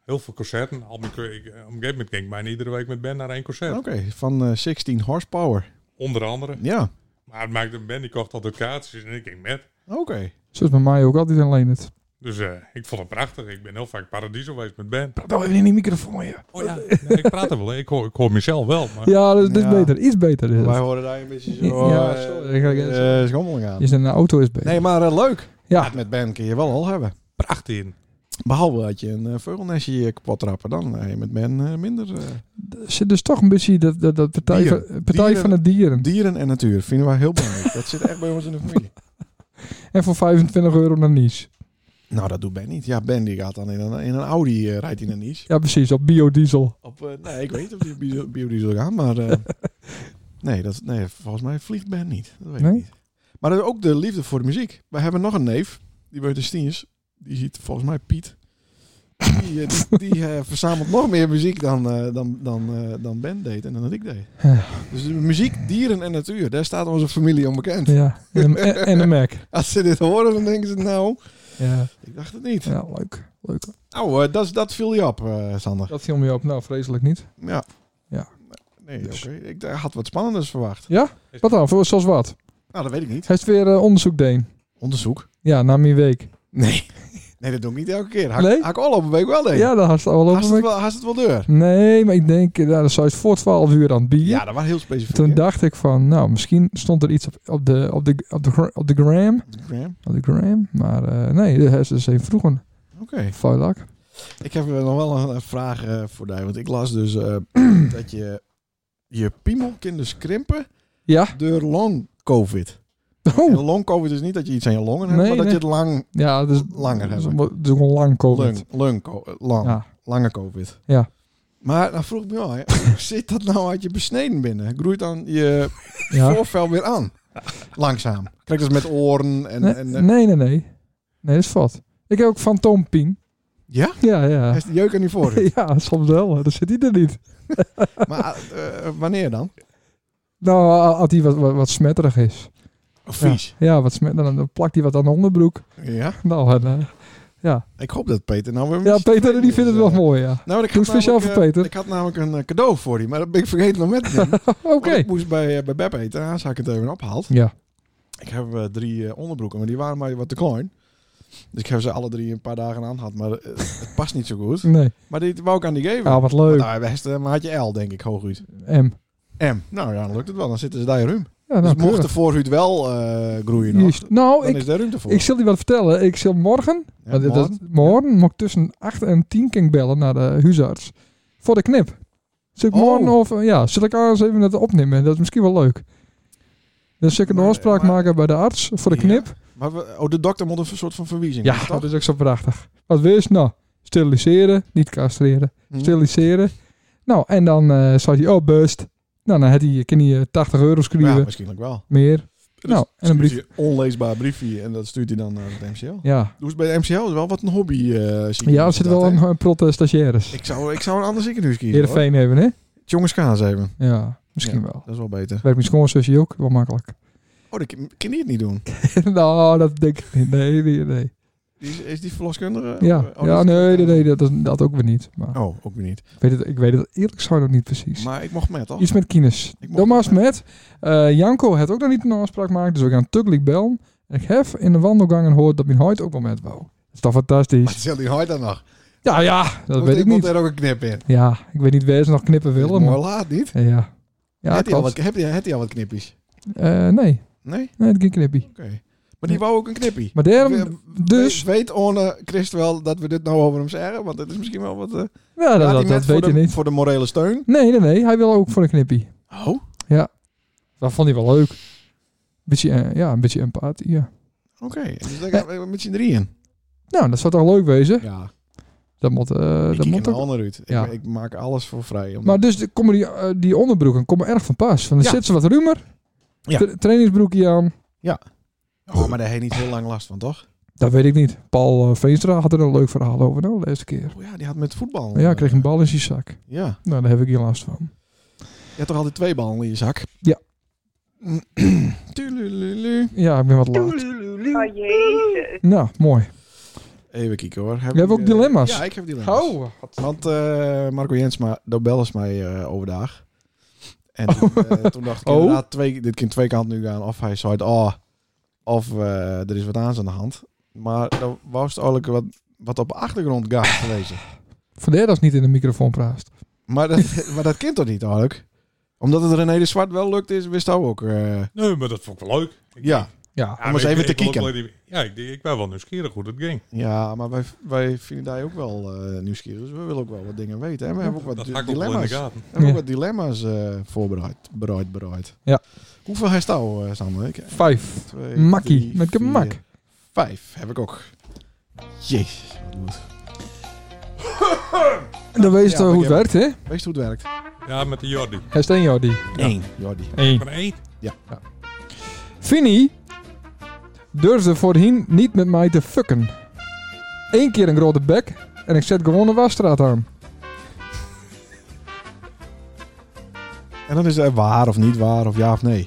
Speaker 4: heel veel concerten. Al mijn, ik, eh, op een gegeven moment ging ik bijna iedere week met Ben naar één concert.
Speaker 2: oké. Van eh, 16 horsepower.
Speaker 4: Onder andere.
Speaker 2: Ja,
Speaker 4: Maar het maakte Ben, die kocht altijd kaartjes en ik ging met.
Speaker 2: oké.
Speaker 1: Zo is bij mij ook altijd alleen het.
Speaker 4: Dus eh, ik vond het prachtig. Ik ben heel vaak paradiso geweest met Ben.
Speaker 1: Praat nou even in die microfoon, ja.
Speaker 4: Oh ja, nee, ik praat er wel. hè. Ik hoor, ik hoor mezelf wel. Maar
Speaker 1: Ja, dus dit is
Speaker 2: Ah. Ja.
Speaker 1: beter. Iets beter is
Speaker 2: Wij
Speaker 1: het.
Speaker 2: horen daar een beetje
Speaker 1: Dus- Ja,
Speaker 2: zo... eh,
Speaker 1: sorry, ik ga-
Speaker 2: eh, schommeling aan.
Speaker 1: Is een auto is beter.
Speaker 2: Nee, maar eh, leuk.
Speaker 1: Ja.
Speaker 2: Met Ben kun je wel al hebben.
Speaker 4: prachtig in.
Speaker 2: Behalve dat je een eh, vogelnestje hier kapot trappen, dan eh, met Ben eh, minder... eh.
Speaker 1: Er zit dus toch een beetje dat, dat, dat partij,
Speaker 2: Dieren.
Speaker 1: van- partij
Speaker 2: Dieren.
Speaker 1: van de dieren.
Speaker 2: Dieren en natuur vinden wij heel belangrijk. dat zit echt bij ons in de familie.
Speaker 1: En voor 25 euro naar Nice.
Speaker 2: Nou, dat doet Ben niet. Ja, Ben die gaat dan in een, in een Audi eh, rijdt hij naar Nice.
Speaker 1: Ja, precies. Op biodiesel.
Speaker 2: Op, eh, nee, ik weet niet of die bio- biodiesel gaat, maar... eh, nee, dat, nee, volgens mij vliegt Ben niet. Dat weet
Speaker 1: Nee?
Speaker 2: ik niet. Maar dat is ook de liefde voor de muziek. We hebben nog een neef, die wordt de Stiens. Die ziet volgens mij Piet. Die, eh, die, die eh, verzamelt nog meer muziek dan, eh, dan, dan, eh, dan Ben deed en dan dat ik deed.
Speaker 1: Ja.
Speaker 2: Dus de muziek, dieren en natuur, daar staat onze familie onbekend.
Speaker 1: Ja, en, en, en een Mac.
Speaker 2: Als ze dit horen, dan denken ze nou,
Speaker 1: Ja,
Speaker 2: ik dacht het niet.
Speaker 1: ja leuk. leuk.
Speaker 2: Nou, eh, dat, dat viel je op, eh, Sander.
Speaker 1: Dat viel me op. Nou, vreselijk niet.
Speaker 2: Ja.
Speaker 1: Ja.
Speaker 2: Nee,
Speaker 1: Dus.
Speaker 2: oké. Ik eh, had wat spannenders verwacht.
Speaker 1: Wat dan? Voor- Zoals wat?
Speaker 2: Nou, dat weet ik niet.
Speaker 1: Hij is weer eh, onderzoek deen.
Speaker 2: Onderzoek?
Speaker 1: Ja, na mijn week.
Speaker 2: Nee. Nee, dat doe ik niet elke keer. Hak,
Speaker 1: Nee?
Speaker 2: hak al op een week wel, denk ik.
Speaker 1: Ja, dat had het al
Speaker 2: Haast
Speaker 1: over.
Speaker 2: het
Speaker 1: me.
Speaker 2: wel, haast het wel deur?
Speaker 1: Nee, maar ik denk, eh, nou, dat zou het voor 12 uur aan het bier.
Speaker 2: Ja, dat was heel specifiek.
Speaker 1: Toen
Speaker 2: hè?
Speaker 1: dacht ik van, nou, misschien stond er iets op, op, de, op, de, op, de, gra- op de gram.
Speaker 2: Graham.
Speaker 1: Op de gram. Maar eh, nee, dat is dus even vroeg een
Speaker 2: Oké.
Speaker 1: vuilak.
Speaker 2: Ik heb eh, nog wel een eh, vraag eh, voor jou. Want ik las dus eh, dat je je piemel kan dus krimpen
Speaker 1: Ja.
Speaker 2: door long covid. En
Speaker 1: Oh,
Speaker 2: long covid is niet dat je iets aan je longen hebt,
Speaker 1: Nee,
Speaker 2: maar dat
Speaker 1: nee.
Speaker 2: je het lang,
Speaker 1: ja, dus
Speaker 2: Langer
Speaker 1: dus,
Speaker 2: hebben.
Speaker 1: dus gewoon lang komen.
Speaker 2: lung, lung, co- eh, lang,
Speaker 1: Ja.
Speaker 2: lange covid.
Speaker 1: Ja.
Speaker 2: Maar dan vroeg ik me al, hè, hoe zit dat nou uit je besneden binnen? Groeit dan je
Speaker 1: Ja.
Speaker 2: voorvel weer aan? Langzaam. Kijk, dat is met oren en...
Speaker 1: Nee,
Speaker 2: en eh,
Speaker 1: nee, nee, nee. Nee, dat is vat. Ik heb ook fantoompien.
Speaker 2: Ja?
Speaker 1: Ja,
Speaker 2: Hij
Speaker 1: ja.
Speaker 2: is de jeuk aan die voor.
Speaker 1: Ja, soms wel. hè. Dan zit hij er niet.
Speaker 2: maar eh, eh, wanneer dan?
Speaker 1: Nou, als hij wat, wat, wat smetterig is.
Speaker 2: Vies.
Speaker 1: Ja, wat smet, dan, dan plakt hij wat aan de onderbroek.
Speaker 2: Ja.
Speaker 1: Nou, en, eh,
Speaker 2: Ik hoop dat Peter nou weer...
Speaker 1: ja, Peter die vindt het wel
Speaker 2: Eh,
Speaker 1: mooi, ja.
Speaker 2: Nou, ik
Speaker 1: Doe
Speaker 2: had
Speaker 1: het speciaal
Speaker 2: namelijk,
Speaker 1: voor
Speaker 2: eh,
Speaker 1: Peter.
Speaker 2: Ik had namelijk een eh, cadeau voor die, maar dat ben ik vergeten om met te nemen. Want
Speaker 1: Oké.
Speaker 2: Ik moest bij, eh, bij Beb eten, haast had ik het even opgehaald.
Speaker 1: Ja.
Speaker 2: Ik heb eh, drie eh, onderbroeken, maar die waren mij wat te klein. Dus ik heb ze alle drie een paar dagen aan gehad, maar eh, het past niet zo goed.
Speaker 1: Nee.
Speaker 2: Maar dit wou ik aan die geven.
Speaker 1: Ah, wat leuk.
Speaker 2: Nou, best, maar had je L, denk ik, hooguit.
Speaker 1: M.
Speaker 2: M. Nou ja, dan lukt het wel. Dan zitten ze daar in ruim.
Speaker 1: Ja,
Speaker 2: dus
Speaker 1: nou,
Speaker 2: mocht de
Speaker 1: keurig.
Speaker 2: voorhuid wel eh, groeien,
Speaker 1: Juist.
Speaker 2: nog,
Speaker 1: Nou,
Speaker 2: dan
Speaker 1: ik,
Speaker 2: is daar ruimte voor.
Speaker 1: ik zal die wat vertellen. Ik zal morgen
Speaker 2: Ja,
Speaker 1: Want dat-
Speaker 2: morgen.
Speaker 1: morgen, moet ik tussen 8 en 10 kan ik bellen naar de huisarts. Voor de knip. Zul ik
Speaker 2: Oh.
Speaker 1: morgen of ja, zal ik eens even dat opnemen? Dat is misschien wel leuk. Dan zul ik een
Speaker 2: Maar-
Speaker 1: afspraak
Speaker 2: maar-
Speaker 1: maken bij de arts voor
Speaker 2: Ja.
Speaker 1: de knip.
Speaker 2: Maar we- oh, de dokter moet een soort van verwijzing.
Speaker 1: Ja,
Speaker 2: toch?
Speaker 1: dat is ook zo prachtig. Wat wees nou? Steriliseren, niet castreren.
Speaker 2: Hm.
Speaker 1: Steriliseren. Nou, en dan eh zei hij, oh best. Nou, dan had hij, kan hij eh, 80 euro schrijven.
Speaker 2: Ja, misschien ook wel. Dus
Speaker 1: Meer. Nou, en een
Speaker 2: Stuurt
Speaker 1: brief.
Speaker 2: hij onleesbaar briefje en dat stuurt hij dan naar het MCL.
Speaker 1: Ja,
Speaker 2: Doe eens bij de MCL, is wel wat een hobby. eh ziekenhuis
Speaker 1: ja er
Speaker 2: is
Speaker 1: zit
Speaker 2: dat,
Speaker 1: wel
Speaker 2: hè?
Speaker 1: een, een prot eh, stagiaires.
Speaker 2: Ik zou, ik zou een ander ziekenhuis kiezen. hoor.
Speaker 1: Heerenveen hebben, hè?
Speaker 2: Jongens Kaas even.
Speaker 1: Ja, misschien
Speaker 2: Ja,
Speaker 1: wel.
Speaker 2: Dat is wel beter.
Speaker 1: Werkt mijn schoonzusje ook wel makkelijk.
Speaker 2: Oh, dat kan kan die het niet doen.
Speaker 1: nou, dat denk ik niet. Nee, nee, nee.
Speaker 2: Die Is, is die verloskundige?
Speaker 1: Ja,
Speaker 2: Oh,
Speaker 1: ja
Speaker 2: dat is-
Speaker 1: nee, nee, nee, dat, is, dat ook weer niet. Maar
Speaker 2: Oh, ook weer niet.
Speaker 1: ik, weet het, ik weet het eerlijk gezegd nog niet precies.
Speaker 2: Maar ik mocht met, toch?
Speaker 1: Iets met kines.
Speaker 2: Ik mocht
Speaker 1: Thomas
Speaker 2: met.
Speaker 1: met. eh, Janko had ook nog niet een afspraak gemaakt, dus we gaan tukkelijk bellen. En ik heb in de wandelgangen gehoord dat mijn huid ook wel met wou. Dat is toch
Speaker 2: Maar
Speaker 1: fantastisch?
Speaker 2: stel die hard dan nog.
Speaker 1: Ja, ja, dat
Speaker 2: Moet-
Speaker 1: weet ik
Speaker 2: moet
Speaker 1: niet.
Speaker 2: er ook een knip in.
Speaker 1: Ja, ik weet niet waar ze nog knippen willen.
Speaker 2: Maar
Speaker 1: Maar,
Speaker 2: laat niet.
Speaker 1: ja, ja
Speaker 2: heb, je al wat,
Speaker 1: klopt.
Speaker 2: heb, je, heb je al wat knippies?
Speaker 1: Eh, nee,
Speaker 2: Nee?
Speaker 1: nee, het ging knippie.
Speaker 2: Oké. Maar die wou ook een knippie.
Speaker 1: Maar
Speaker 2: We-
Speaker 1: daarom, dus...
Speaker 2: We- weet Orne Christ wel dat we dit nou over hem zeggen? Want het is misschien wel wat... eh,
Speaker 1: Nou, dat,
Speaker 2: laat
Speaker 1: dat,
Speaker 2: die net
Speaker 1: dat
Speaker 2: voor
Speaker 1: weet je
Speaker 2: de-
Speaker 1: niet.
Speaker 2: Voor de morele steun.
Speaker 1: Nee, nee, nee. Hij wil ook voor een knippie.
Speaker 2: Oh.
Speaker 1: Dat vond hij wel leuk. Beetje, eh, ja, een beetje empathie, ja.
Speaker 2: Oké, dus dan gaan we met z'n drieën.
Speaker 1: Nou, dat zou toch leuk wezen?
Speaker 2: Ja,
Speaker 1: Dat moet, eh,
Speaker 2: ik
Speaker 1: dat
Speaker 2: kijk
Speaker 1: moet
Speaker 2: naar
Speaker 1: ook.
Speaker 2: ander uit. Ik-
Speaker 1: Ja.
Speaker 2: Ik, maak alles voor vrij. Om...
Speaker 1: Maar dus de- komen die, eh, die onderbroeken komen erg van pas. Want dan
Speaker 2: Ja.
Speaker 1: zit ze wat rumer.
Speaker 2: Ja.
Speaker 1: Tra- Trainingsbroekje aan.
Speaker 2: oh, maar daar heeft niet heel lang last van, toch?
Speaker 1: Dat weet ik niet. Paul eh, Veenstra had er een leuk verhaal over nou, de eerste keer.
Speaker 2: Oh, ja, die had met voetbal.
Speaker 1: Maar ja, kreeg een bal in zijn zak.
Speaker 2: Ja,
Speaker 1: Nou, daar heb ik geen last van.
Speaker 2: je had toch altijd twee ballen in je zak?
Speaker 1: Ja.
Speaker 2: Tuulululu.
Speaker 1: Ja, ik ben wat laat.
Speaker 5: Oh jezus.
Speaker 1: Nou, mooi.
Speaker 2: Even kijken hoor. Heb
Speaker 1: We hebben
Speaker 2: ik,
Speaker 1: ook
Speaker 2: eh,
Speaker 1: dilemma's. Oh.
Speaker 2: Ja, dus- ik heb dilemma's. Want eh, Marco Jensma, daar bellen ze mij eh, overdag. En toen, eh, toen dacht ik
Speaker 1: Oh.
Speaker 2: inderdaad, twee, dit kind twee kanten nu gaan. Of hij zei, oh, of eh, er is wat aan aan de hand. Maar dan was het eigenlijk wat, wat op de achtergrond gaat gelezen.
Speaker 1: Vandaar dat ze niet in de microfoon praat.
Speaker 2: Maar dat, maar dat kind toch niet eigenlijk? Omdat het René de Zwart wel lukt is, wist hij ook. eh,
Speaker 4: Nee, maar dat vond ik wel leuk. Ik-
Speaker 2: ja.
Speaker 1: Ja.
Speaker 4: maar
Speaker 2: eens even te
Speaker 4: wil ook
Speaker 2: kieken.
Speaker 4: wel die- Ja, ik, ik ben wel nieuwsgierig hoe dat ging.
Speaker 2: ja, maar wij, wij vinden daar ook wel eh, nieuwsgierig. Dus we willen ook wel wat dingen weten. En we hebben ook wat
Speaker 4: dat
Speaker 2: di-
Speaker 4: ga ik ook wel in de
Speaker 2: dilemma's. We
Speaker 4: gaten.
Speaker 2: hebben ook
Speaker 1: Ja.
Speaker 2: wat dilemma's eh, voorbereid. Bereid, bereid.
Speaker 1: Ja.
Speaker 2: Hoeveel herstel, eh Sander? Ik,
Speaker 1: Vijf.
Speaker 2: twee,
Speaker 1: Makkie.
Speaker 2: drie,
Speaker 1: Met een
Speaker 2: vier,
Speaker 1: mak.
Speaker 2: Vijf heb ik ook. Jezus. wat moet.
Speaker 1: En dan weet je
Speaker 2: Ja,
Speaker 1: toch
Speaker 2: maar
Speaker 1: hoe
Speaker 2: ik
Speaker 1: het werkt, hè?
Speaker 2: Weet je hoe het werkt?
Speaker 4: Ja, met de Jordi.
Speaker 1: Hij is één, Jordi.
Speaker 2: Eén. Jordi.
Speaker 1: Eén.
Speaker 4: Van één.
Speaker 1: Vinnie durfde voorheen niet met mij te fucken. Eén keer een grote bek En ik zet gewoon een wasstraat aan.
Speaker 2: En dan is het eh, waar of niet waar of ja of nee.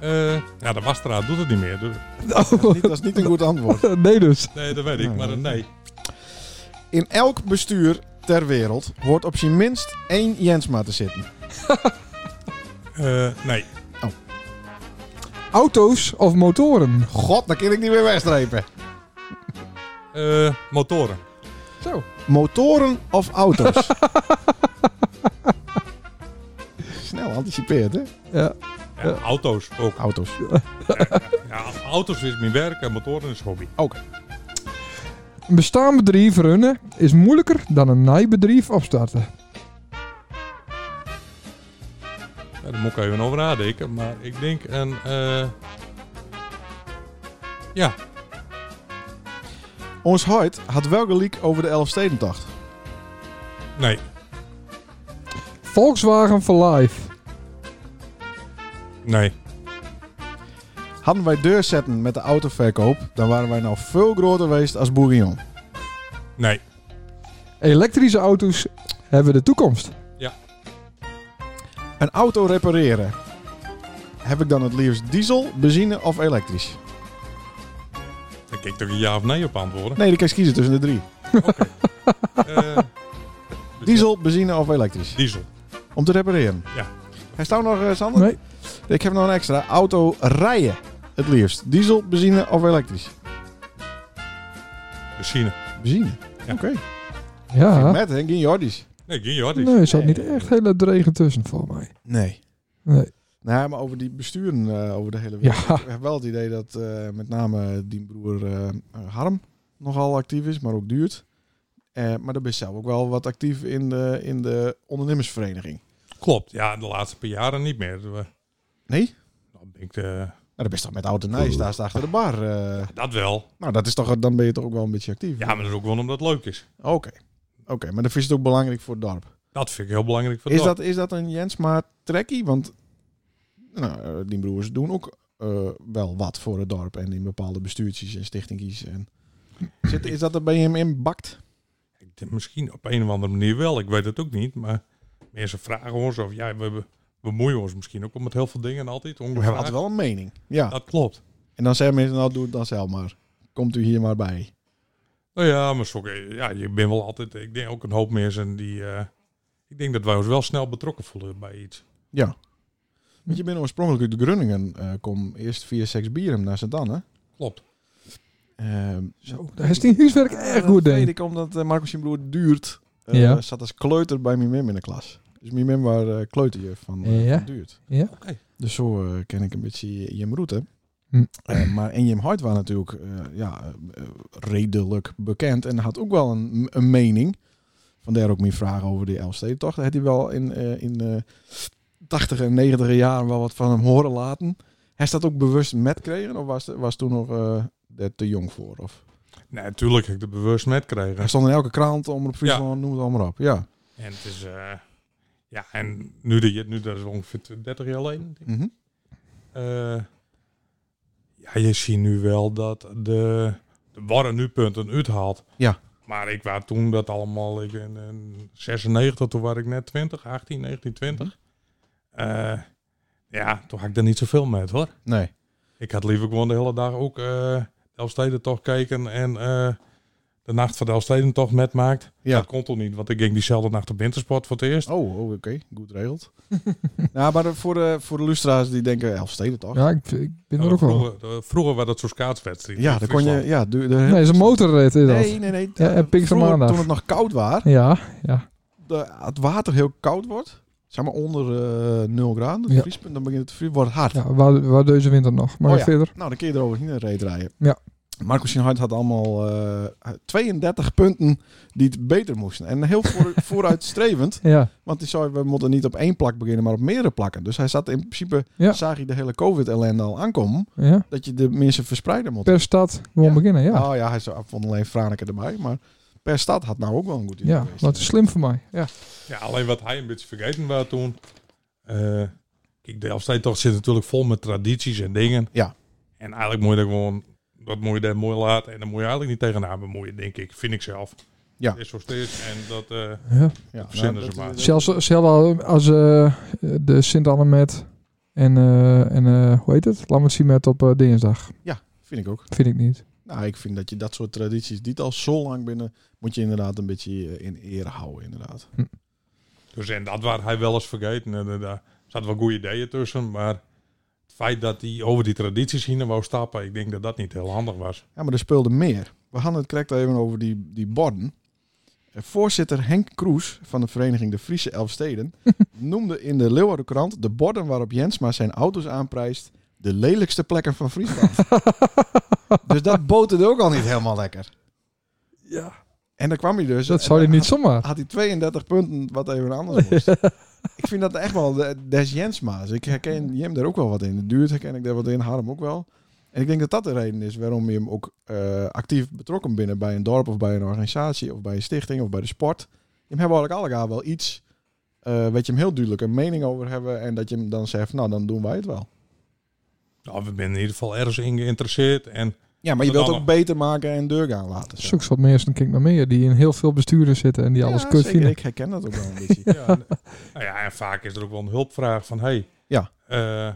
Speaker 4: Eh, ja, de wasstraat doet het niet meer. dus-
Speaker 2: Dat is niet, dat is niet een goed antwoord.
Speaker 1: nee dus.
Speaker 4: Nee, dat weet ik, maar een nee.
Speaker 2: In elk bestuur ter wereld hoort op zijn minst één Jensma te zitten.
Speaker 4: Eh, nee.
Speaker 1: Auto's of motoren?
Speaker 2: God, dan kan ik niet meer wegstrepen.
Speaker 4: Eh, motoren.
Speaker 1: Zo.
Speaker 2: Motoren of auto's? Snel anticipeerd, hè?
Speaker 1: Ja.
Speaker 4: Ja, auto's ook.
Speaker 2: Auto's.
Speaker 4: Ja, auto's is mijn werk en motoren is hobby.
Speaker 1: Een bestaand bedrijf runnen is moeilijker dan een nijbedrijf opstarten.
Speaker 4: Ja, daar moet ik even over nadenken, maar ik denk een... eh, Ja,
Speaker 2: Ons huid had wel geliek over de Elfstedentocht.
Speaker 4: nee.
Speaker 1: Volkswagen for Life.
Speaker 4: Nee.
Speaker 2: Hadden wij deur zetten met de autoverkoop, dan waren wij nou veel groter geweest als Bourguignon.
Speaker 4: Nee.
Speaker 1: Elektrische auto's hebben de toekomst.
Speaker 2: Een auto repareren. Heb ik dan het liefst diesel, benzine of elektrisch?
Speaker 4: Dan kijk ik toch een ja of nee op antwoorden.
Speaker 2: Nee, dan kan je kiezen tussen de drie.
Speaker 4: Eh, dus
Speaker 2: Diesel, benzine of elektrisch?
Speaker 4: ja, Diesel.
Speaker 2: Om te repareren.
Speaker 4: Ja.
Speaker 2: Hij staat nog, eh, Sander?
Speaker 1: Nee.
Speaker 2: Ik heb nog een extra. Auto rijden. Het liefst. Diesel, benzine of elektrisch?
Speaker 4: Benzine.
Speaker 2: Benzine.
Speaker 4: Ja.
Speaker 2: Oké.
Speaker 1: Ja.
Speaker 2: Met Henk en Jordis.
Speaker 4: Nee, geen ja, die-
Speaker 1: Nee, er zat niet echt hele dregen tussen voor mij.
Speaker 2: Nee.
Speaker 1: Nee.
Speaker 2: Nou, maar over die besturen eh, over de hele wereld.
Speaker 1: Ja.
Speaker 2: Ik heb wel het idee dat eh, met name die broer eh, Harm nogal actief is, maar ook duurt. Eh, maar dan ben je zelf ook wel wat actief in de, in de ondernemersvereniging.
Speaker 4: Klopt, ja, de laatste paar jaren niet meer. We-
Speaker 2: Nee?
Speaker 4: Nou, ik denk, eh,
Speaker 2: Nou, dan ben je toch met oud en nijs, daar staat achter de bar. eh.
Speaker 4: dat wel.
Speaker 2: nou, dat is toch, dan ben je toch ook wel een beetje actief.
Speaker 4: Ja, maar dat is ook wel omdat het leuk is.
Speaker 2: Oké. Oké, maar dan vind je het ook belangrijk voor het dorp.
Speaker 4: Dat vind ik heel belangrijk voor
Speaker 2: Is
Speaker 4: dorp.
Speaker 2: dat, is dat een Jensma trekkie? Want nou, eh, die broers doen ook eh, wel wat voor het dorp. En in bepaalde bestuurtjes en stichtingjes. En... Zit, is dat er bij hem in bakt?
Speaker 4: Ik denk Misschien op een of andere manier wel, ik weet het ook niet. Maar mensen vragen ons of ja, we be- bemoeien ons misschien ook met heel veel dingen altijd.
Speaker 2: We hebben altijd wel een mening. Ja.
Speaker 4: Dat klopt.
Speaker 2: En dan zeggen mensen, nou doe het dan zelf maar. Komt u hier maar bij.
Speaker 4: Nou ja, maar zo, ja, je bent wel altijd, ik denk ook een hoop mensen die... eh, ik denk dat wij ons wel snel betrokken voelen bij iets.
Speaker 2: Ja.
Speaker 4: Hm.
Speaker 2: Want je bent oorspronkelijk uit de Grunningen. eh, kom eerst via Sex Bierum naar Sint-Anne.
Speaker 4: Klopt.
Speaker 2: Ehm,
Speaker 1: Zo, daar is die huiswerk echt goed,
Speaker 2: Dat
Speaker 1: denk
Speaker 2: weet
Speaker 1: ik.
Speaker 2: ik omdat eh, Marco zijn broer Duurt eh,
Speaker 1: Ja.
Speaker 2: zat als kleuter bij mijn mim in de klas. Dus mijn mim was eh, kleuterjuf van, eh,
Speaker 1: Ja.
Speaker 2: van Duurt.
Speaker 1: Ja.
Speaker 4: Oké.
Speaker 2: Dus zo eh, ken ik een beetje Jim Roete.
Speaker 1: Hm.
Speaker 2: Eh, maar en Jim Hart was natuurlijk eh, ja, eh, redelijk bekend en had ook wel een, een mening. Vandaar ook mijn vraag over die Elfstedentocht. Had hij wel in, eh, in de 80 en 90 jaren wel wat van hem horen laten. Hij staat ook bewust met kregen of was, was toen nog eh, er te jong voor? Of?
Speaker 4: Nee, natuurlijk heb ik er bewust met krijgen.
Speaker 2: Hij stond in elke krant, omroep Friesland, noem het allemaal op. Ja.
Speaker 4: En het is, eh, ja, en nu dat je, nu dat is ongeveer 20, 30 jaar alleen.
Speaker 2: Mhm.
Speaker 4: Eh, ja, je ziet nu wel dat de, de warren nu punten uithaalt.
Speaker 2: Ja.
Speaker 4: Maar ik was toen dat allemaal, ik in, in 96, toen was ik net 20, 18, 19, 20.
Speaker 2: Mhm.
Speaker 4: Eh, ja, toen had ik er niet zoveel met hoor.
Speaker 2: Nee.
Speaker 4: Ik had liever gewoon de hele dag ook eh Elfsteden toch kijken en eh, de nacht van de Elfsteden toch met maakt.
Speaker 2: Ja.
Speaker 4: Dat kon toch niet, want ik ging diezelfde nacht op wintersport voor het eerst.
Speaker 2: Oh, oh, oké. Goed regeld. nou, maar de- voor de, voor de lustra's die denken, Elfsteden toch?
Speaker 1: Ja, ik, ik ben
Speaker 4: Ja,
Speaker 1: er ook wel.
Speaker 4: vroeger, eh, vroeger was dat zo'n skaatswedstrijd.
Speaker 2: Ja,
Speaker 4: in
Speaker 2: dan kon je...
Speaker 4: Friesland.
Speaker 2: Ja, de, de,
Speaker 1: Nee, is een motorrit is dat.
Speaker 2: nee, nee, nee.
Speaker 1: Ja, en Pinkster
Speaker 2: Vroeger,
Speaker 1: Maandag.
Speaker 2: toen het nog koud was,
Speaker 1: Ja, ja.
Speaker 2: de, het water heel koud wordt, zeg maar onder eh 0 graden, het
Speaker 1: Ja.
Speaker 2: vriespunt, dan begint het vries, wordt het hard.
Speaker 1: ja waar, waar deze winter nog. Maar
Speaker 2: Oh ja.
Speaker 1: verder.
Speaker 2: Nou, dan kun je erover niet een reet rijden.
Speaker 1: Ja.
Speaker 2: Marco Sinhard had allemaal eh, 32 punten die het beter moesten. En heel voor, vooruitstrevend.
Speaker 1: Ja.
Speaker 2: Want die zei, we moeten niet op één plak beginnen, maar op meerdere plakken. Dus hij zat in principe,
Speaker 1: Ja.
Speaker 2: zag hij de hele COVID-ellende al aankomen,
Speaker 1: ja.
Speaker 2: dat je de mensen verspreiden moet.
Speaker 1: Per stad gewoon
Speaker 2: Ja.
Speaker 1: beginnen, ja.
Speaker 2: Nou ja, hij zei, vond alleen Franeker erbij, maar per stad had nou ook wel een goed idee
Speaker 1: Ja,
Speaker 2: geweest.
Speaker 1: dat is slim voor mij. Ja.
Speaker 4: Ja, alleen wat hij een beetje vergeten was toen. eh, kijk, de Elfstedentocht zit natuurlijk vol met tradities en dingen.
Speaker 2: Ja.
Speaker 4: En eigenlijk moet je daar gewoon, dat moet je daar mooi laten. En dan moet je eigenlijk niet tegenaan bemoeien, denk ik. Vind ik zelf.
Speaker 2: Ja.
Speaker 4: Dit is zoals dit is en dat... eh,
Speaker 1: Ja.
Speaker 2: Ja,
Speaker 4: Verzinnen
Speaker 2: nou,
Speaker 4: ze maar.
Speaker 1: Zelfs, zelfs al als eh, de Sint-Annemet en, eh, en eh, hoe heet het? Lammert met op eh, dinsdag.
Speaker 2: Vind ik ook.
Speaker 1: Vind ik niet.
Speaker 2: Nou, ik vind dat je dat soort tradities, die het al zo lang binnen, moet je inderdaad een beetje eh, in ere houden, inderdaad.
Speaker 4: Dus en dat waar hij wel eens vergeten. En, eh, daar zaten wel goede ideeën tussen. Maar het feit dat hij over die tradities heen wou stappen, ik denk dat dat niet heel handig was.
Speaker 2: Ja, maar er speelde meer. We hadden het correct even over die, die borden. Eh, Voorzitter Henk Kroes van de vereniging De Friese Elfsteden noemde in de Leeuwarden krant de borden waarop Jensma zijn auto's aanprijst de lelijkste plekken van Friesland. dus dat boterde ook al niet helemaal lekker.
Speaker 1: Ja.
Speaker 2: En dan kwam hij dus.
Speaker 1: Dat
Speaker 2: en
Speaker 1: zou je
Speaker 2: dan
Speaker 1: niet zomaar.
Speaker 2: Had hij 32 punten wat even anders moest. ik vind dat echt wel de- des Jensma's. Ik herken Jem daar ook wel wat in. De duurt herken ik daar wat in, Harm ook wel. En ik denk dat dat de reden is waarom je hem ook eh, actief betrokken binnen bij een dorp of bij een organisatie of bij een stichting of bij de sport. Je hebben eigenlijk allemaal wel iets eh wat je hem heel duidelijk een mening over hebben en dat je hem dan zegt, nou dan doen wij het wel.
Speaker 4: Nou, we zijn in ieder geval ergens in geïnteresseerd. En
Speaker 2: Ja, maar je wilt
Speaker 4: Dat
Speaker 2: het ook
Speaker 4: allemaal.
Speaker 2: beter maken en deur gaan laten. zeg.
Speaker 1: Zoek soort mensen, kijk naar meer, die in heel veel besturen zitten en die alles
Speaker 2: Ja,
Speaker 1: kut
Speaker 2: zeker.
Speaker 1: vinden.
Speaker 2: Ik herken dat ook wel een beetje.
Speaker 4: ja, en, nou ja, en vaak is er ook wel een hulpvraag van... Hey,
Speaker 2: Ja.
Speaker 4: eh,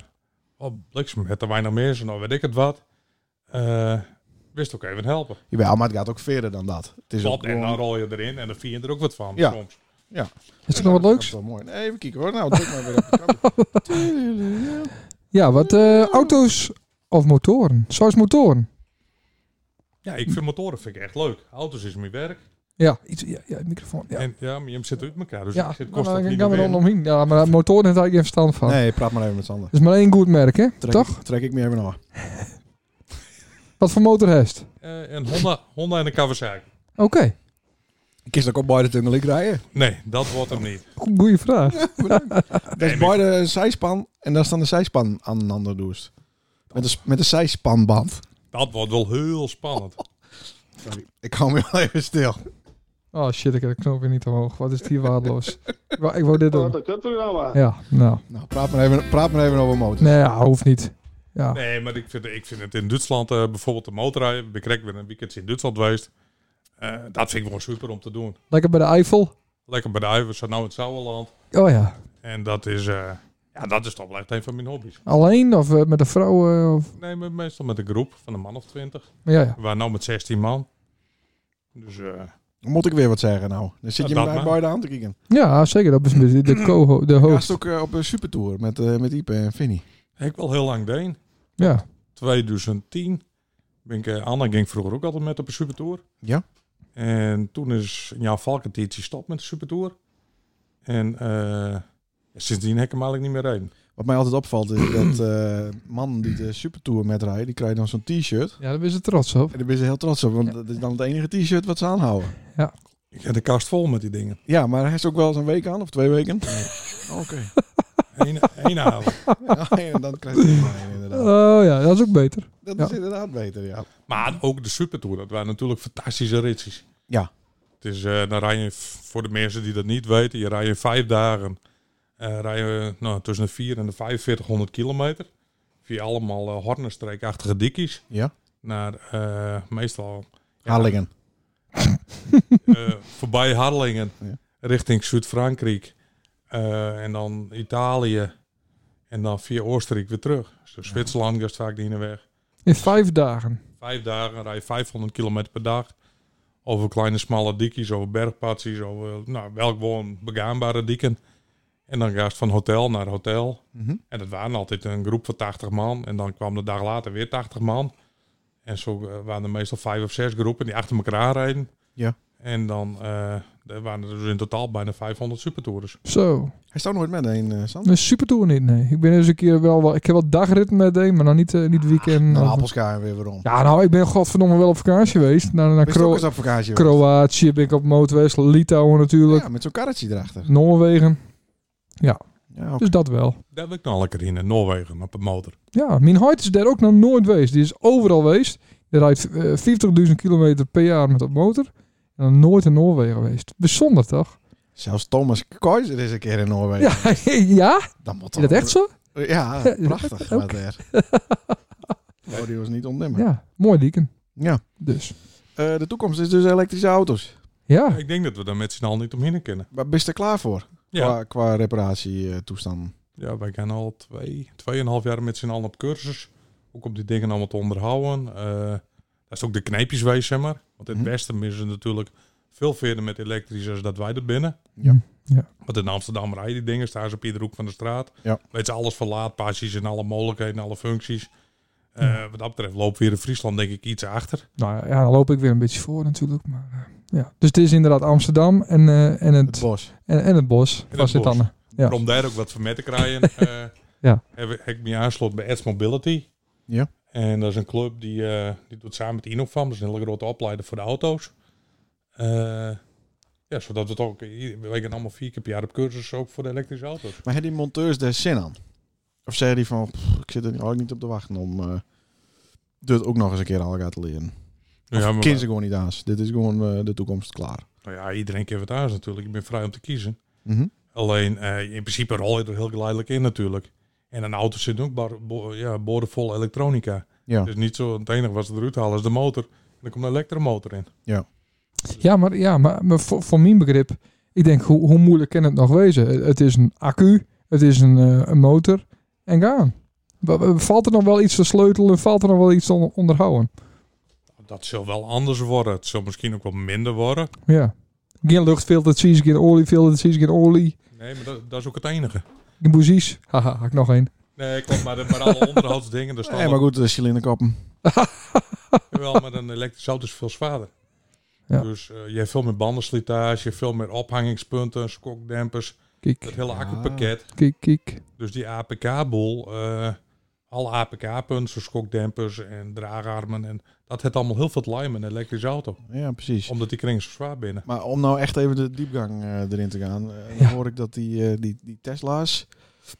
Speaker 4: oh, bliksem, het er weinig mensen, of weet ik het wat. Eh, wist ook even helpen.
Speaker 2: Jawel, maar het gaat ook verder dan dat. Het is ook
Speaker 4: Klopt, en
Speaker 2: gewoon-
Speaker 4: dan rol je erin en dan vind je er ook wat van
Speaker 2: Ja.
Speaker 4: soms.
Speaker 1: Is er nog wat
Speaker 2: Dat is
Speaker 1: leuks?
Speaker 2: wel mooi. Nee, even kijken hoor. Nou, druk maar weer op de knop.
Speaker 1: Ja, wat eh, auto's of motoren. Zoals motoren.
Speaker 4: Ja, ik vind motoren vind ik echt leuk. Auto's is mijn werk.
Speaker 1: Ja, iets, ja, ja microfoon. Ja,
Speaker 4: En ja, maar je zit uit elkaar, dus
Speaker 1: ja
Speaker 4: ik zit
Speaker 1: maar
Speaker 4: constant
Speaker 1: dan
Speaker 4: niet
Speaker 1: kan we
Speaker 4: meer
Speaker 1: er
Speaker 4: in.
Speaker 1: omheen. Ja, maar motoren heeft eigenlijk geen verstand van.
Speaker 2: Nee, praat maar even met Sander.
Speaker 1: Dat is maar één goed merk, hè?
Speaker 2: Trek,
Speaker 1: Toch?
Speaker 2: Trek ik me even naar.
Speaker 1: Wat voor motor heeft?
Speaker 4: Eh, een Honda, Honda en een Kawasaki.
Speaker 1: Oké,
Speaker 2: Ik kies dat ik op beide tunnelik rijden.
Speaker 4: Nee, dat wordt hem niet.
Speaker 1: Go- goeie vraag.
Speaker 2: Dat is
Speaker 4: maar-
Speaker 2: beide een zijspan en dan staan de zijspan aan een ander doest. Met een, s- met een zijspanband.
Speaker 4: Dat wordt wel heel spannend.
Speaker 2: Sorry, ik hou me wel even stil.
Speaker 1: Oh shit, ik heb de knop weer niet omhoog. Wat is het hier waardeloos? ik, wou, ik wou dit doen.
Speaker 6: Wat een kutprogramma.
Speaker 1: Ja, nou.
Speaker 2: Nou, praat maar even, praat maar even over motor.
Speaker 1: Nee, ja, hoeft niet. Ja.
Speaker 4: Nee, maar ik vind, ik vind het in Duitsland eh, bijvoorbeeld de motorrijden. Ik ben correct weer een weekend in Duitsland geweest. Eh, dat vind ik gewoon super om te doen.
Speaker 1: Lekker bij de Eifel.
Speaker 4: Lekker bij de Uiven, zo nou in het Sauerland.
Speaker 1: Oh ja.
Speaker 4: En dat is, eh, ja, dat is toch wel echt een van mijn hobby's.
Speaker 1: Alleen of eh, met een vrouw? eh, of...
Speaker 4: Nee, maar meestal met een groep van een man of twintig.
Speaker 1: Ja, ja.
Speaker 4: We waren nou met 16 man. Dus eh,
Speaker 2: Dan moet ik weer wat zeggen nou. Dan zit
Speaker 4: Ja,
Speaker 2: je
Speaker 4: dat
Speaker 2: met mij
Speaker 4: maar.
Speaker 2: beide aan te kijken.
Speaker 1: ja, zeker. Dat is een beetje de, co de
Speaker 2: Hij
Speaker 1: host.
Speaker 2: was ook eh, op een supertour met, eh, met Ipe en Vinnie.
Speaker 4: ik wel heel lang deen.
Speaker 1: Ja.
Speaker 4: 2010 ben ik, eh, Anna ging vroeger ook altijd met op een supertour.
Speaker 2: Ja.
Speaker 4: En toen is ja, Valkentiet gestopt met de supertour. En eh, sindsdien heb ik hem eigenlijk niet meer rijden.
Speaker 2: Wat mij altijd opvalt is dat eh mannen die de supertour met rijden, die krijgen dan zo'n t-shirt.
Speaker 1: Ja, daar ben ze trots op.
Speaker 2: En daar ben je heel trots op, want
Speaker 1: Ja.
Speaker 2: dat is dan het enige t-shirt wat ze aanhouden.
Speaker 4: Ik heb de kast vol met die dingen.
Speaker 2: Ja, maar hij is ook wel eens een week aan of twee weken. Oké.
Speaker 4: Eén één avond.
Speaker 2: Ja, en dan krijg je het erbij, inderdaad.
Speaker 1: Oh ja, dat is ook beter.
Speaker 2: Dat
Speaker 1: Ja.
Speaker 2: is inderdaad beter, ja.
Speaker 4: Maar ook de supertour, dat waren natuurlijk fantastische ritjes.
Speaker 2: Ja.
Speaker 4: Het is, eh, dan rij je, v- voor de mensen die dat niet weten, je rijdt in vijf dagen. eh rij je nou, tussen de 4 en de 4500 kilometer. Via allemaal eh hornenstreekachtige dikkies.
Speaker 2: Ja.
Speaker 4: Naar eh, meestal Ja.
Speaker 2: Harlingen.
Speaker 4: eh, voorbij Harlingen
Speaker 2: Ja.
Speaker 4: richting Zuid-Frankrijk. Eh, en dan Italië. En dan via Oostenrijk weer terug. Dus Zwitserland gaat vaak die weg.
Speaker 1: In vijf dagen.
Speaker 4: Vijf dagen rij je 500 kilometer per dag. Over kleine smalle dikjes, over bergpatsies, over nou, welk gewoon begaanbare dieken. En dan ga je van hotel naar hotel.
Speaker 2: Mhm.
Speaker 4: En dat waren altijd een groep van 80 man. En dan kwam de dag later weer 80 man. En zo eh, waren er meestal vijf of zes groepen die achter elkaar rijden.
Speaker 2: Ja.
Speaker 4: En dan eh, er waren er dus in totaal bijna 500 supertours.
Speaker 1: Zo.
Speaker 2: Hij staat nooit met een, eh Sander.
Speaker 1: Een supertour niet, nee. Ik ben eens een keer wel... wel ik heb wel dagritten met een, maar dan niet, eh, niet weekend.
Speaker 2: Een
Speaker 1: of-
Speaker 2: appelskaar weer waarom.
Speaker 1: Ja, nou, ik ben godverdomme wel op vakantie geweest. Naar, naar
Speaker 2: Ben je ook
Speaker 1: Kro
Speaker 2: eens op vakantie geweest?
Speaker 1: Kroatië ben ik op motorwest. Litouwen natuurlijk.
Speaker 2: Ja, met zo'n karretje erachter.
Speaker 1: Noorwegen.
Speaker 2: Ja, oké.
Speaker 1: Dus dat wel.
Speaker 4: Daar wil ik nou lekker in, in Noorwegen, op een motor.
Speaker 1: Ja, mijn huid is daar ook nog nooit geweest. Die is overal geweest. Die rijdt eh, 40.000 kilometer per jaar met op motor. En dan nooit in Noorwegen geweest. Bijzonder toch?
Speaker 2: Zelfs Thomas Keizer is een keer in Noorwegen.
Speaker 1: Ja, ja?
Speaker 2: Dan moet
Speaker 1: Is dat echt zo?
Speaker 2: Ja, prachtig.
Speaker 1: Ook.
Speaker 2: wat er. Oh, die was niet onnemen. Ja.
Speaker 1: Ja, mooi dieken. Dus.
Speaker 2: Eh, de toekomst is dus elektrische auto's.
Speaker 1: Ja.
Speaker 4: Ik denk dat we daar met z'n allen niet omheen kunnen.
Speaker 2: Maar ben je er klaar voor?
Speaker 4: Ja,
Speaker 2: Qua, qua eh, reparatietoestanden.
Speaker 4: ja wij gaan al twee, tweeënhalf jaar met z'n allen op cursus. Ook om die dingen allemaal te onderhouden. Eh, dat is ook de kneepjes wijs, zeg maar. Want in het
Speaker 2: Mhm.
Speaker 4: Westen is het natuurlijk veel verder met elektrisch als dat wij er binnen.
Speaker 2: Ja.
Speaker 1: Ja.
Speaker 4: Want in Amsterdam rijden die dingen, staan ze op iedere hoek van de straat.
Speaker 2: Ja.
Speaker 4: Weet ze alles van laadpassies en alle mogelijkheden, alle functies. Eh, Wat dat betreft loopt weer in Friesland denk ik iets achter.
Speaker 1: Nou ja, ja, dan loop ik weer een beetje voor natuurlijk. Maar, eh, ja. Dus het is inderdaad Amsterdam en, eh, en,
Speaker 2: Het
Speaker 1: het,
Speaker 2: bos.
Speaker 1: en, en het bos.
Speaker 4: het
Speaker 1: was dit
Speaker 4: bos.
Speaker 1: dan? Ja.
Speaker 4: Maar om daar ook wat voor mee te krijgen, eh,
Speaker 1: Ja.
Speaker 4: heb, ik- heb ik me aangesloten bij Ads Mobility.
Speaker 2: Ja.
Speaker 4: En dat is een club die, eh, die doet samen met Inovam, dat is een hele grote opleider voor de auto's. Eh, ja, zodat we het ook, we liggen allemaal vier keer per jaar op cursus ook voor de elektrische auto's.
Speaker 2: Maar hebben die monteurs daar zin aan? Of zeggen die van, "Pff, ik zit er eigenlijk niet op te wachten om eh dit ook nog eens een keer aan elkaar te leren. Of
Speaker 4: Ja,
Speaker 2: ja,
Speaker 4: maar-
Speaker 2: ze gewoon niet aan. Dit is gewoon eh, de toekomst klaar.
Speaker 4: nou ja, iedereen kent wat thuis natuurlijk, ik ben vrij om te kiezen.
Speaker 2: Mhm.
Speaker 4: Alleen eh, in principe rol je er heel geleidelijk in natuurlijk. En een auto zit ook bar, bo- ja, boordevol elektronica.
Speaker 2: Ja.
Speaker 4: Dus niet zo, het enige wat ze eruit halen is de motor. En dan komt een elektromotor in.
Speaker 1: Ja, maar, ja, maar, maar voor, voor mijn begrip, ik denk, hoe, hoe moeilijk kan het nog wezen? Het- Het is een accu, het is een, eh, een motor en gaan. Wa- wa- Valt er nog wel iets te sleutelen? Valt er nog wel iets te on- onderhouden?
Speaker 4: Dat zal wel anders worden. Het zal misschien ook wel minder worden.
Speaker 1: Ja. Geen luchtfiltertjes, geen oliefiltertjes, geen olie,
Speaker 4: Nee, maar dat, dat is ook het enige.
Speaker 1: geen boezies. Haha, had ik nog één.
Speaker 4: Nee, klopt, maar, de- maar alle onderhoudsdingen. Dus
Speaker 2: Nee, maar goed, de cilinderkoppen.
Speaker 4: Wel, maar een elektrische auto is veel zwaarder.
Speaker 1: Ja.
Speaker 4: Dus eh, je hebt veel meer bandenslitage, veel meer ophangingspunten, skokdempers, het
Speaker 1: Kijk,
Speaker 4: hele
Speaker 2: Ja.
Speaker 4: accupakket.
Speaker 1: kijk, kijk.
Speaker 4: Dus die APK-boel, eh, alle APK-punten, zoals schokdempers en draagarmen. En dat heeft allemaal heel veel te lijmen in een elektrische auto.
Speaker 2: Ja, precies.
Speaker 4: Omdat die kringen zo zwaar binnen.
Speaker 2: Maar om nou echt even de diepgang eh, erin te gaan. eh,
Speaker 1: Ja.
Speaker 2: Dan hoor ik dat die, eh, die, die Tesla's,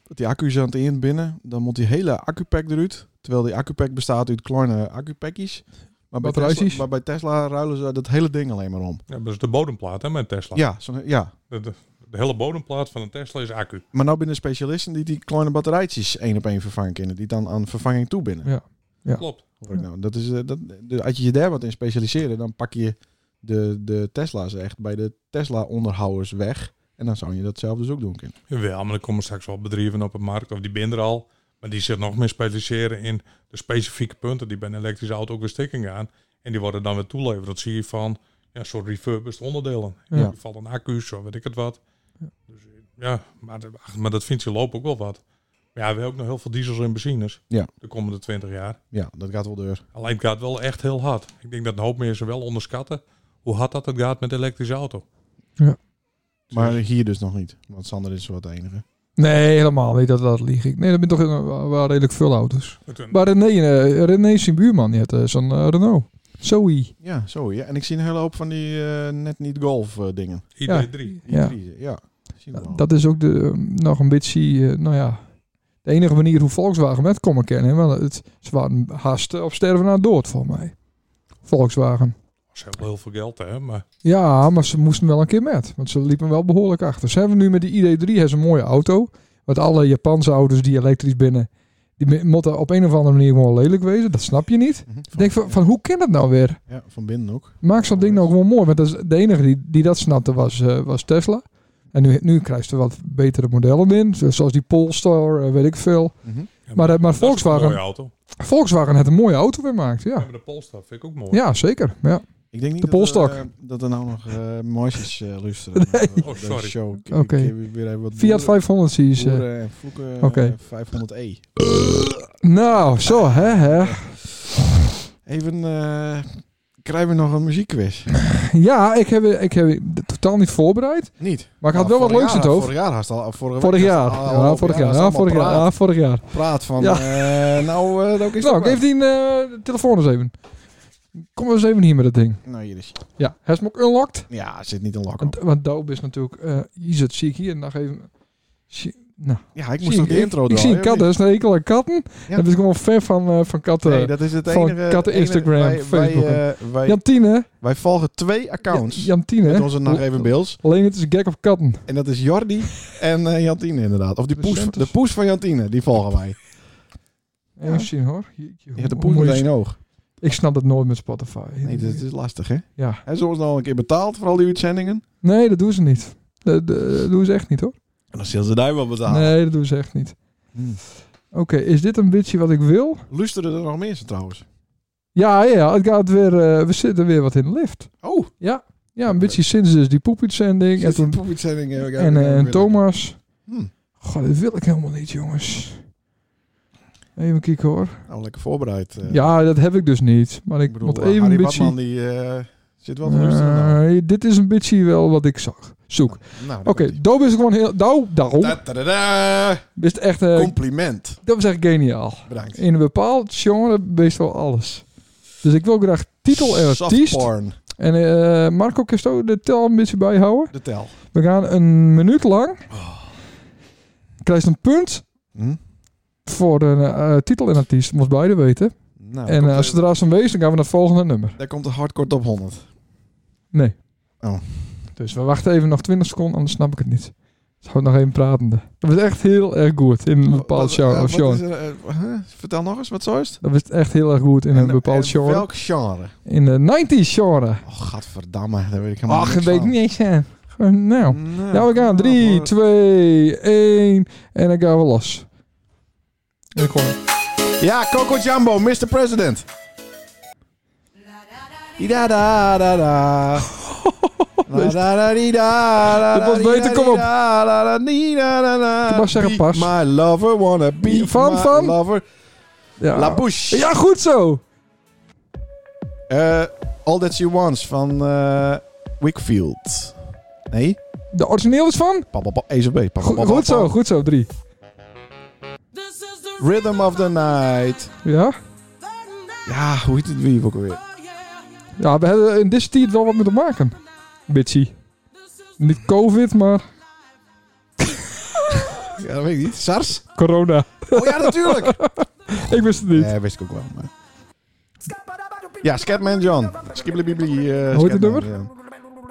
Speaker 2: dat die accu's aan het in binnen. Dan moet die hele accupack eruit. Terwijl die accupack bestaat uit kleine accupackjes. Maar bij,
Speaker 1: Batterijtjes.
Speaker 2: Tesla, maar bij Tesla ruilen ze dat hele ding alleen maar om.
Speaker 4: Ja, dat is de bodemplaat hè, met Tesla.
Speaker 2: Ja, zo'n- ja.
Speaker 4: De, de, de hele bodemplaat van een Tesla is accu.
Speaker 2: maar nou binnen specialisten die die kleine batterijtjes één op één vervangen kunnen. Die dan aan vervanging toe binnen.
Speaker 1: Ja.
Speaker 4: Klopt.
Speaker 2: Hoor ik nou. dat is, eh, dat, de- als je je daar wat in specialiseren, dan pak je de, de Tesla's echt bij de Tesla-onderhouders weg. En dan zou je dat zelf dus ook doen kunnen.
Speaker 4: Jawel, maar er komen straks wel bedrijven op de markt, of die binnen er al. Maar die zich nog meer specialiseren in de specifieke punten die bij een elektrische auto ook weer stikking gaan. En die worden dan weer toeleverd. Dat zie je van ja, soort refurbished onderdelen.
Speaker 1: Ja.
Speaker 4: In ieder geval een accu's, zo weet ik het wat. Dus, ja, maar, de- ach, maar dat vindt je loop ook wel wat. Maar ja, we hebben ook nog heel veel diesels en benzines
Speaker 2: Ja.
Speaker 4: de komende 20 jaar.
Speaker 2: Ja, dat gaat wel deur.
Speaker 4: Alleen het gaat wel echt heel hard. Ik denk dat een hoop mensen wel onderschatten hoe hard dat het gaat met een elektrische auto.
Speaker 2: Maar hier dus nog niet. Want Sander is wat de enige.
Speaker 1: Nee, helemaal niet. Dat, dat lieg ik. Nee, dat ben toch eh, wel- wel redelijk veel auto's.
Speaker 4: Het-
Speaker 1: Maar René, eh, René zijn buurman, die had eh, zo'n eh, Renault. Zoe.
Speaker 2: Ja, zo. Ja. En ik zie een hele hoop van die eh, net niet golf eh, dingen.
Speaker 4: ID3.
Speaker 2: Die
Speaker 1: Ja.
Speaker 2: drie, eh, ja. Zien we
Speaker 1: Ja,
Speaker 2: wel.
Speaker 1: Dat is ook de, eh, nog een beetje, eh, nou ja, de enige manier hoe Volkswagen met komen kennen. Want het, ze waren haast eh, op sterven na dood, voor mij. Volkswagen.
Speaker 4: Ze hebben wel heel veel geld, hè. Maar
Speaker 1: Ja, maar ze moesten wel een keer met. Want ze liepen wel behoorlijk achter. Ze hebben nu met die ID3 hebben ze een mooie auto. Want alle Japanse auto's die elektrisch binnen, die mi- moeten op een of andere manier gewoon lelijk wezen. Dat snap je niet.
Speaker 2: Mhm.
Speaker 1: Ik denk van, van hoe kan dat nou weer?
Speaker 2: ja, van binnen ook.
Speaker 1: Maak zo'n ding nou gewoon mooi. Want dat is de enige die, die dat snapte was, eh, was Tesla. En nu, nu krijg je er wat betere modellen in. zo- Zoals die Polestar, eh, weet ik veel.
Speaker 2: Mhm.
Speaker 4: Ja,
Speaker 1: Maar, eh, maar
Speaker 4: dat is toch
Speaker 1: Volkswagen,
Speaker 4: Een mooie auto.
Speaker 1: Volkswagen heeft een mooie auto weer gemaakt.
Speaker 4: Ja.
Speaker 1: Ja,
Speaker 4: maar de Polestar vind ik ook mooi.
Speaker 1: ja zeker. Ja.
Speaker 2: Ik denk niet
Speaker 1: De
Speaker 2: dat,
Speaker 1: polstok.
Speaker 2: eh, dat er nou nog eh mooisjes eh, luisteren. Eh,
Speaker 4: Oh,
Speaker 2: deze
Speaker 4: sorry.
Speaker 2: show. Ik- ik-
Speaker 1: Oké.
Speaker 2: ik heb weer even wat
Speaker 1: Fiat 500 zie
Speaker 2: boeren-
Speaker 1: je. ze.
Speaker 2: boeren en vloeken eh,
Speaker 1: Oké.
Speaker 2: 500e.
Speaker 1: Nou, zo hè hè.
Speaker 2: Even, eh, krijgen we nog een muziekquiz?
Speaker 1: Ja, ik heb, ik heb het totaal niet voorbereid.
Speaker 2: Niet. Ah,
Speaker 1: Maar ik had wel wat leuks in het hoofd.
Speaker 2: Vorig jaar Ah, had al. Vorige
Speaker 1: Vorig
Speaker 2: week
Speaker 1: jaar.
Speaker 2: had het al-
Speaker 1: Ja, vorig jaar.
Speaker 2: had
Speaker 1: Ja,
Speaker 2: het
Speaker 1: vorig jaar.
Speaker 2: allemaal
Speaker 1: Ja, vorig jaar.
Speaker 2: Praat, praat van,
Speaker 1: Ja.
Speaker 2: eh, nou, eh nou, is
Speaker 1: Nou,
Speaker 2: het
Speaker 1: geef die eh, telefoon eens even. Kom eens even hier met dat ding.
Speaker 2: wel. Nou, hier is hij.
Speaker 1: Ja, hij is hem ook unlocked.
Speaker 2: Ja, er zit niet een lak op.
Speaker 1: Want, want Dope is natuurlijk... eh je zit zie ik hier en dan even... Zie,
Speaker 2: Ja, ik
Speaker 1: zie
Speaker 2: moest ook de intro
Speaker 1: ik,
Speaker 2: doen.
Speaker 1: ik zie een kat, dat is een hekel aan katten.
Speaker 2: Ja.
Speaker 1: Dat is gewoon fan van, eh, van katten.
Speaker 2: Nee, dat is het
Speaker 1: van
Speaker 2: enige.
Speaker 1: katten
Speaker 2: enige-
Speaker 1: Instagram,
Speaker 2: wij, wij,
Speaker 1: Facebook.
Speaker 2: eh, wij,
Speaker 1: Jantine.
Speaker 2: wij volgen twee accounts.
Speaker 1: Ja, Jantine.
Speaker 2: Met onze nog
Speaker 1: L-
Speaker 2: even Bills.
Speaker 1: Oh. Alleen het is gek op katten.
Speaker 2: En dat is Jordi en eh, Jantine inderdaad. Of die
Speaker 1: De
Speaker 2: poes,
Speaker 1: centers.
Speaker 2: de poes van Jantine, die volgen wij.
Speaker 1: Even zien hoor. Jeetje,
Speaker 2: Je hebt de
Speaker 1: hoe
Speaker 2: poes
Speaker 1: moet
Speaker 2: met
Speaker 1: je-
Speaker 2: één oog.
Speaker 1: Ik snap dat nooit met Spotify.
Speaker 2: Nee, dat is lastig, hè?
Speaker 1: Ja.
Speaker 2: En zo is nou een keer betaald voor al die uitzendingen.
Speaker 1: Nee, dat doen ze niet. Dat, dat- dat doen ze echt niet hoor.
Speaker 2: En dan zullen ze daar wel betalen.
Speaker 1: Nee, dat doen ze echt niet.
Speaker 2: Hmm.
Speaker 1: Oké, is dit een beetje wat ik wil?
Speaker 2: Luisteren er nog mensen trouwens?
Speaker 1: Ja, ja, het gaat weer. eh, we zitten weer wat in de lift.
Speaker 2: Oh,
Speaker 1: Ja, een beetje sinds dus die poepuitzending. En,
Speaker 2: zit die
Speaker 1: toen-
Speaker 2: poepuitzending. eh, we gaan
Speaker 1: en,
Speaker 2: weer-
Speaker 1: eh,
Speaker 2: weer-
Speaker 1: en Thomas.
Speaker 2: Hmm.
Speaker 1: Goh, dit wil ik helemaal niet, jongens. Even kijken hoor.
Speaker 2: Nou, lekker voorbereid. eh.
Speaker 1: Ja, dat heb ik dus niet. Maar ik,
Speaker 2: Ik bedoel,
Speaker 1: moet
Speaker 2: even
Speaker 1: even
Speaker 2: Harry
Speaker 1: een beetje. Eh,
Speaker 2: Watman die eh, zit wel te luisteren. nou.
Speaker 1: Nee, dit is een beetje wel wat ik zag. Zoek.
Speaker 2: Nou, daar
Speaker 1: Oké,
Speaker 2: komt-ie.
Speaker 1: daar is gewoon heel. Nou, daarom.
Speaker 2: Da- da- da- da.
Speaker 1: Is het echt, eh,
Speaker 2: Compliment.
Speaker 1: dat was echt geniaal.
Speaker 2: Bedankt.
Speaker 1: In een bepaald genre best wel alles. Dus ik wil graag titel en artiest.
Speaker 2: Softporn.
Speaker 1: En eh, Marco, kun je de tel een beetje bijhouden?
Speaker 2: De tel.
Speaker 1: We gaan een minuut lang. Krijg je een punt
Speaker 2: Hm?
Speaker 1: voor een eh, titel en artiest. Moest beide weten.
Speaker 2: Nou,
Speaker 1: en
Speaker 2: komt
Speaker 1: eh,
Speaker 2: er-
Speaker 1: als het er zijn wees, dan gaan we naar het volgende nummer.
Speaker 2: daar komt de hardcore top 100.
Speaker 1: Nee.
Speaker 2: Oh.
Speaker 1: Dus we wachten even nog 20 seconden, anders snap ik het niet. Dus houdt nog even pratende. Dat was echt heel erg goed in een bepaald
Speaker 2: Wat- eh,
Speaker 1: genre. of
Speaker 2: wat
Speaker 1: genre.
Speaker 2: is er, eh, huh? Vertel nog eens, wat zo is het?
Speaker 1: Dat was echt heel erg goed in
Speaker 2: En-
Speaker 1: een bepaald
Speaker 2: en
Speaker 1: genre.
Speaker 2: Welk genre?
Speaker 1: In de 90s genre.
Speaker 2: Oh, gadverdamme. Daar weet ik helemaal
Speaker 1: Ach, dat
Speaker 2: niks
Speaker 1: weet ik
Speaker 2: van.
Speaker 1: niet eens aan. Gewoon, nou.
Speaker 2: Nee.
Speaker 1: Ja, we gaan. 3,
Speaker 2: Nou,
Speaker 1: 2, 1. En dan gaan we los. En ik gooi.
Speaker 2: Ja, Coco Jumbo, Mr. President. Da da da da. La da da di da da
Speaker 1: Dit was
Speaker 2: da di
Speaker 1: beter,
Speaker 2: da
Speaker 1: kom
Speaker 2: di
Speaker 1: op.
Speaker 2: da da da di da da da.
Speaker 1: Ik mag zeggen
Speaker 2: Be
Speaker 1: pas.
Speaker 2: My lover wanna be
Speaker 1: Van,
Speaker 2: my
Speaker 1: van?
Speaker 2: lover.
Speaker 1: Ja.
Speaker 2: La Bouche.
Speaker 1: ja, goed zo.
Speaker 2: Eh, All That She Wants van eh, Wickfield. Nee,
Speaker 1: De origineel is van?
Speaker 2: pap, pap, pap, Ace of Base. Pap, pap,
Speaker 1: Goed,
Speaker 2: pap,
Speaker 1: goed
Speaker 2: pap.
Speaker 1: zo, goed zo. 3.
Speaker 2: Rhythm of the Night.
Speaker 1: Ja.
Speaker 2: Ja, hoe heet het wie ook alweer?
Speaker 1: Ja, we hebben in dit tijd wel wat mee te maken. Bitchy. Niet COVID, maar
Speaker 2: Ja, dat weet ik niet. SARS?
Speaker 1: corona.
Speaker 2: Oh ja, natuurlijk.
Speaker 1: Ik wist het niet.
Speaker 2: Nee, wist ik ook wel. Maar... Ja, Scatman John. Skibblebibli. eh
Speaker 1: Hoe heet het
Speaker 2: Scatman
Speaker 1: nummer?
Speaker 2: John.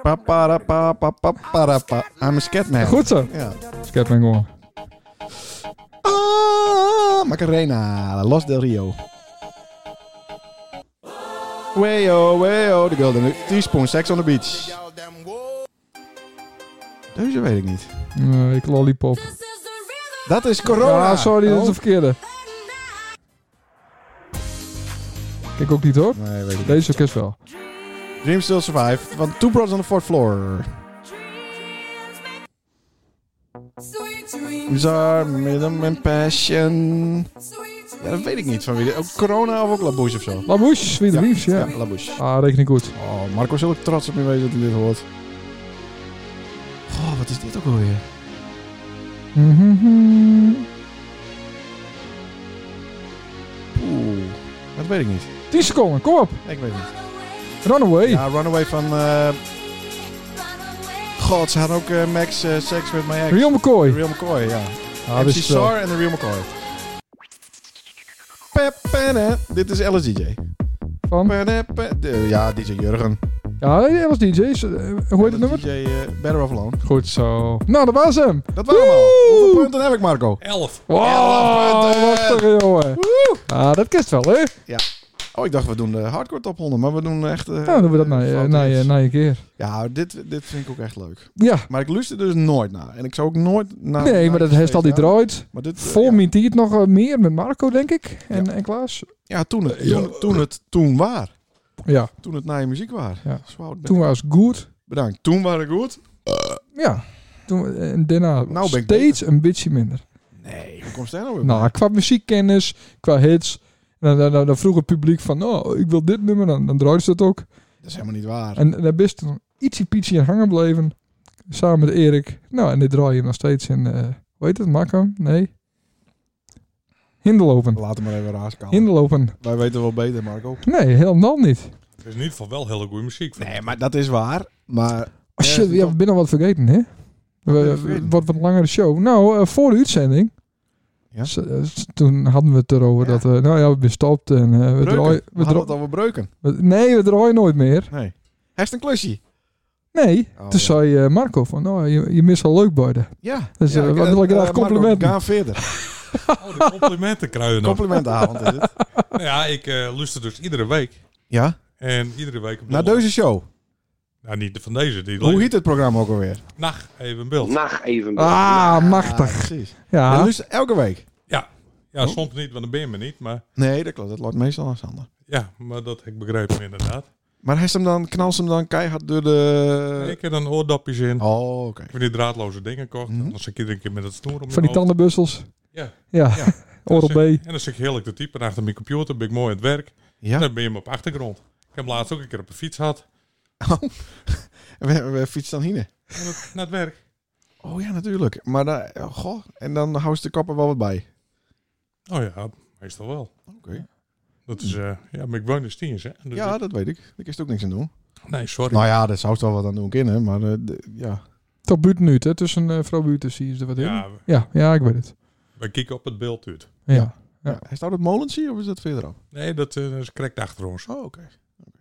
Speaker 2: Pa, para, pa, pa, pa, para, pa. I'm a Scatman.
Speaker 1: Goed zo.
Speaker 2: Ja.
Speaker 1: Scatman gewoon.
Speaker 2: Ah, Macarena. Los del Rio. Wayo, wayo. The Golden Teaspoon. Sex on the Beach. Deze weet ik niet.
Speaker 1: Nee, ik lollipop.
Speaker 2: Dat is corona.
Speaker 1: Ja, sorry, dat is
Speaker 2: Oh.
Speaker 1: de verkeerde. Ik ook niet hoor.
Speaker 2: Nee, weet ik niet.
Speaker 1: Deze is wel.
Speaker 2: Dream Still Survive van Two Brothers on the Fourth Floor. Bizarre, Rhythm and Passion. Ja, dat weet ik niet van wie. dit- Ook corona of ook Labouche of zo?
Speaker 1: Labouche, Sweet Dreams, ja.
Speaker 2: ja Labouche.
Speaker 1: Ah, reken ik goed.
Speaker 2: Oh, Marco is heel erg trots op me wezen dat hij dit hoort. Oh, wat is dit ook alweer?
Speaker 1: Mhm.
Speaker 2: Oeh, dat weet ik niet.
Speaker 1: 10 seconden, kom op.
Speaker 2: Ik weet het niet.
Speaker 1: Runaway.
Speaker 2: Ja, Runaway van... eh, God, ze hadden ook eh, Max eh, Sex with My Ex.
Speaker 1: Real McCoy.
Speaker 2: Real McCoy, ja.
Speaker 1: Ah,
Speaker 2: MC
Speaker 1: wist ik wel.
Speaker 2: Sar en de Real McCoy. Pe- pe- ne. Dit is LSDJ.
Speaker 1: Van.
Speaker 2: Pe- ne- pe- de- Ja, DJ Jurgen.
Speaker 1: Ja, hij was DJ's. Hoe heet het nummer?
Speaker 2: DJ eh, Better Off Alone.
Speaker 1: Goed zo. Nou, dat was hem.
Speaker 2: Dat waren we al.
Speaker 1: Woe!
Speaker 2: Hoeveel punten heb ik, Marco?
Speaker 4: 11.
Speaker 1: Wow,
Speaker 2: Elf punten.
Speaker 1: lastig jongen. Ah, dat kist wel, hè?
Speaker 2: Oh, ik dacht we doen de hardcore top 100, maar we doen echt... eh,
Speaker 1: Nou, doen we dat na
Speaker 2: foute
Speaker 1: je, na je,
Speaker 2: hits.
Speaker 1: na je keer.
Speaker 2: Ja, dit, dit vind ik ook echt leuk.
Speaker 1: Ja.
Speaker 2: Maar ik luister dus nooit naar. En ik zou ook nooit naar...
Speaker 1: Nee, maar dat heeft al die
Speaker 2: droom.
Speaker 1: droid.
Speaker 2: Maar dit, eh,
Speaker 1: Vol
Speaker 2: ja.
Speaker 1: mint het nog eh, meer met Marco, denk ik. En, en Klaas.
Speaker 2: Ja, toen het, toen, het- toen het toen waar.
Speaker 1: Ja,
Speaker 2: Toen het naar je muziek waar.
Speaker 1: Ja.
Speaker 2: Zo oud ben
Speaker 1: toen
Speaker 2: ik.
Speaker 1: was het goed.
Speaker 2: Bedankt. Toen waren we goed.
Speaker 1: Ja. Toen, eh, en daarna
Speaker 2: Nou ben ik
Speaker 1: steeds een beetje minder.
Speaker 2: Nee. Hoe komt daar nou weer bij?
Speaker 1: Nou, qua muziekkennis, qua hits. Dan, dan, dan, dan vroeg het publiek van, oh, ik wil dit nummer. Dan, dan draaiden ze dat ook.
Speaker 2: Dat is helemaal niet waar.
Speaker 1: En daar ben je toen ietsje pietje in hangen bleven. Samen met Erik. Nou, en dit draai je nog steeds in, eh hoe heet het, Makkum? Nee. Hinderlopen.
Speaker 2: Laat hem maar even raaskalen.
Speaker 1: Hinderlopen.
Speaker 2: Wij weten wel beter, Marco.
Speaker 1: Nee, helemaal niet.
Speaker 4: Het is in ieder geval wel hele goede muziek. vind
Speaker 2: Nee,
Speaker 4: ik.
Speaker 2: maar dat is waar. Maar
Speaker 1: Oh
Speaker 2: Ja,
Speaker 1: shit,
Speaker 2: is
Speaker 1: ja, we
Speaker 2: toch-
Speaker 1: binnen wat vergeten, hè?
Speaker 2: ben je
Speaker 1: We,
Speaker 2: vergeten?
Speaker 1: wat, wat langere show. Nou, eh, voor de uitzending.
Speaker 2: Ja?
Speaker 1: s- eh, s- toen hadden we het erover
Speaker 2: Ja.
Speaker 1: dat we, nou ja, we bestopt en eh, we
Speaker 2: breuken.
Speaker 1: draaien.
Speaker 2: we
Speaker 1: We
Speaker 2: hadden het
Speaker 1: draaien-
Speaker 2: over breuken.
Speaker 1: we- nee, we draaien nooit meer.
Speaker 2: Nee. Hij is een klusje.
Speaker 1: Nee.
Speaker 2: Oh,
Speaker 1: toen
Speaker 2: ja.
Speaker 1: zei eh, Marco van, nou, je, je mist al leuk beide.
Speaker 2: Ja.
Speaker 1: Dus,
Speaker 2: ja,
Speaker 1: eh,
Speaker 2: ik-
Speaker 1: wat wil ik
Speaker 2: eh,
Speaker 1: graag
Speaker 2: Marco,
Speaker 1: complimenten.
Speaker 2: Ga verder.
Speaker 4: Oh, de complimenten kruiden
Speaker 2: Nou.
Speaker 4: nog.
Speaker 2: Complimentenavond is het.
Speaker 4: Nou ja, ik eh luister dus iedere week.
Speaker 2: Ja,
Speaker 4: En iedere week... op
Speaker 2: naar
Speaker 4: donderdag-
Speaker 2: deze show.
Speaker 4: Nou, niet de van deze. Die
Speaker 2: Hoe heet het programma ook alweer?
Speaker 4: Nacht, even beeld.
Speaker 6: Nacht even.
Speaker 1: Ah, machtig.
Speaker 2: Ah, precies. En
Speaker 1: Ja.
Speaker 2: dus elke week?
Speaker 1: Oh.
Speaker 4: Ja, soms niet, want dan ben je me niet. Maar
Speaker 2: Nee, dat klopt. Dat loopt meestal aan Sander.
Speaker 4: ja, maar dat heb ik begrepen inderdaad.
Speaker 2: Maar hij is hem dan, knalt ze hem dan keihard door
Speaker 1: Eh,
Speaker 2: de...
Speaker 4: ik heb dan oordopjes in.
Speaker 2: Oh, oké.
Speaker 4: Ik heb die draadloze dingen kocht.
Speaker 2: Mhm.
Speaker 4: Dan zit ik iedere keer met het snoer om
Speaker 1: Van
Speaker 4: je
Speaker 1: die tandenbussels.
Speaker 4: Ja.
Speaker 1: Ja.
Speaker 4: Ja.
Speaker 1: Oral
Speaker 4: En dan zit-
Speaker 1: B.
Speaker 4: En dan zit ik heerlijk te typen achter mijn computer. Ben ik mooi aan het werk. En
Speaker 2: Ja,
Speaker 4: dan ben je me op achtergrond. Ik heb laatst ook een keer op de fiets gehad.
Speaker 2: we, we fietsen dan hierheen.
Speaker 4: Naar het, naar het werk.
Speaker 2: Oh ja, natuurlijk. Maar daar, oh, goh, en dan houden ze de kappen wel wat bij.
Speaker 4: Oh ja, meestal wel.
Speaker 2: Oké.
Speaker 4: Dat is, eh, ja, maar ik woon in Stiens, hè. Dus
Speaker 2: Ja,
Speaker 4: ik-
Speaker 2: dat weet ik. Daar is er ook niks aan doen.
Speaker 4: nee, sorry.
Speaker 2: Nou ja, daar zou ze wel wat aan doen kunnen, maar eh, de- ja.
Speaker 1: Tot buurt nu, hè? Tussen eh, vrouw Buurten zie je er wat
Speaker 2: Nou,
Speaker 1: in. Ja.
Speaker 4: ja, we-
Speaker 1: ja, ik weet het.
Speaker 4: we kijken op het beeld uit.
Speaker 1: Ja.
Speaker 2: Ja. ja. Hij staat op Molensie of is dat verderop?
Speaker 4: Nee, dat eh, is correct achter ons.
Speaker 2: Oh, oké. Oké.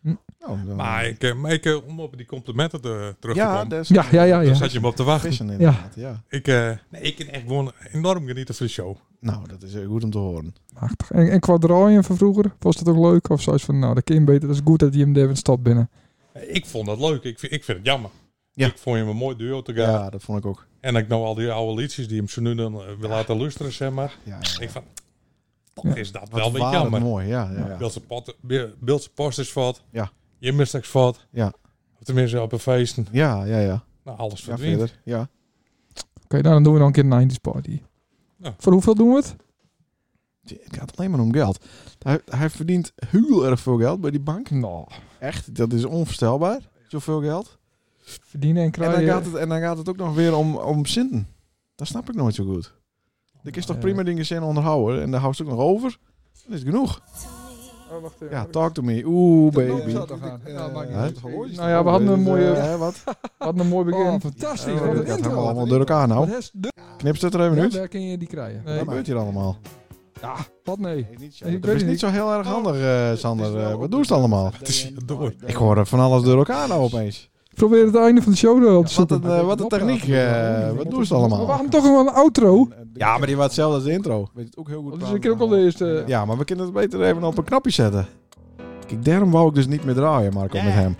Speaker 1: Hm.
Speaker 2: Nou, dan-
Speaker 4: Maar ik, eh, maar ik, eh, om op die complimenten te, eh, terug te
Speaker 2: ja,
Speaker 4: komen,
Speaker 2: daar is-
Speaker 1: Ja, ja, ja.
Speaker 4: daar
Speaker 1: ja.
Speaker 4: zat je me op te wachten.
Speaker 2: vissen inderdaad. Ja.
Speaker 4: Ik, eh, nee, ik kan echt gewoon enorm genieten van de show.
Speaker 2: Nou, dat is eh, goed om te horen.
Speaker 1: Machtig. En, en qua draaien van vroeger, was dat ook leuk? Of zoiets van, nou, dat kind beter. Dat is goed dat hij hem daar weer stad binnen.
Speaker 4: Ik vond dat leuk. Ik vind, ik vind het jammer.
Speaker 2: Ja.
Speaker 4: Ik vond je een mooi duo te gaan.
Speaker 2: Ja, dat vond ik ook.
Speaker 4: En dat ik nou al die oude liedjes die hem zo nu dan eh, wil laten luisteren, zeg maar.
Speaker 2: Ja, ja, ja.
Speaker 4: Ik van, toch
Speaker 1: Ja.
Speaker 4: is dat
Speaker 2: Wat
Speaker 4: wel weer
Speaker 2: waren het
Speaker 4: jammer.
Speaker 2: mooi, ja. ja, ja.
Speaker 4: Beeldse pot- Be- Beeldse post is fout.
Speaker 2: Ja.
Speaker 4: Je mist niks fout.
Speaker 2: Ja.
Speaker 4: Of Tenminste, op een feesten.
Speaker 2: Ja, ja, ja.
Speaker 4: Nou, alles
Speaker 2: Ja,
Speaker 4: verdwijnt.
Speaker 2: verder. Ja.
Speaker 1: Oké, nou, dan doen we nog een keer een 90s party.
Speaker 4: Ja.
Speaker 1: Voor hoeveel doen we het?
Speaker 2: Jee, Het gaat alleen maar om geld. Hij, hij verdient heel erg veel geld bij die bank.
Speaker 1: Nou,
Speaker 2: Echt, dat is onvoorstelbaar. Zoveel geld.
Speaker 1: verdienen en
Speaker 2: En dan,
Speaker 1: krijgen.
Speaker 2: gaat het, en dan gaat het ook nog weer om, om Sinten. Dat snap ik nooit zo goed. Ik is toch
Speaker 1: Eh.
Speaker 2: prima dingen zijn onderhouden en daar houdt ze ook nog over. Dat is genoeg.
Speaker 1: Oh, wacht even.
Speaker 2: Ja, talk to me. Oeh,
Speaker 1: lopen
Speaker 2: baby.
Speaker 1: ze toch aan? Ja, maakt niet
Speaker 2: Hè?
Speaker 1: uit. Nou ja, we hadden een
Speaker 2: Dus,
Speaker 1: mooie-
Speaker 2: eh, hè, wat?
Speaker 1: Wat een mooi begin.
Speaker 2: Oh,
Speaker 1: fantastisch.
Speaker 2: Eh,
Speaker 1: wat
Speaker 2: dat
Speaker 1: een
Speaker 2: gaat
Speaker 1: intro.
Speaker 2: helemaal allemaal door elkaar nou.
Speaker 1: Wat is de...
Speaker 2: Knip het er even uit.
Speaker 1: Ja, daar kun je die krijgen.
Speaker 2: Wat gebeurt hier allemaal?
Speaker 1: Ja, wat nee. Ik
Speaker 2: Dat
Speaker 1: weet
Speaker 2: is niet
Speaker 1: niet.
Speaker 2: zo heel erg handig, eh, Sander. Eh, Wat doen ze allemaal?
Speaker 4: Het is hier door.
Speaker 2: Ik hoor er van alles door elkaar nou opeens.
Speaker 1: Probeer het einde van de show wel te
Speaker 2: Ja, wat
Speaker 1: zoeken.
Speaker 2: een, eh, wat een techniek. eh, wat doen ze allemaal?
Speaker 1: Maar waarom toch wel een outro?
Speaker 2: Ja, maar die was hetzelfde als eh, de intro. Weet het ook heel
Speaker 1: Dat Oh. is een keer ook al de eerste.
Speaker 2: Ja, maar we kunnen het beter even op een knapje zetten. Kijk, daarom wou ik dus niet meer draaien, Marco, met hem.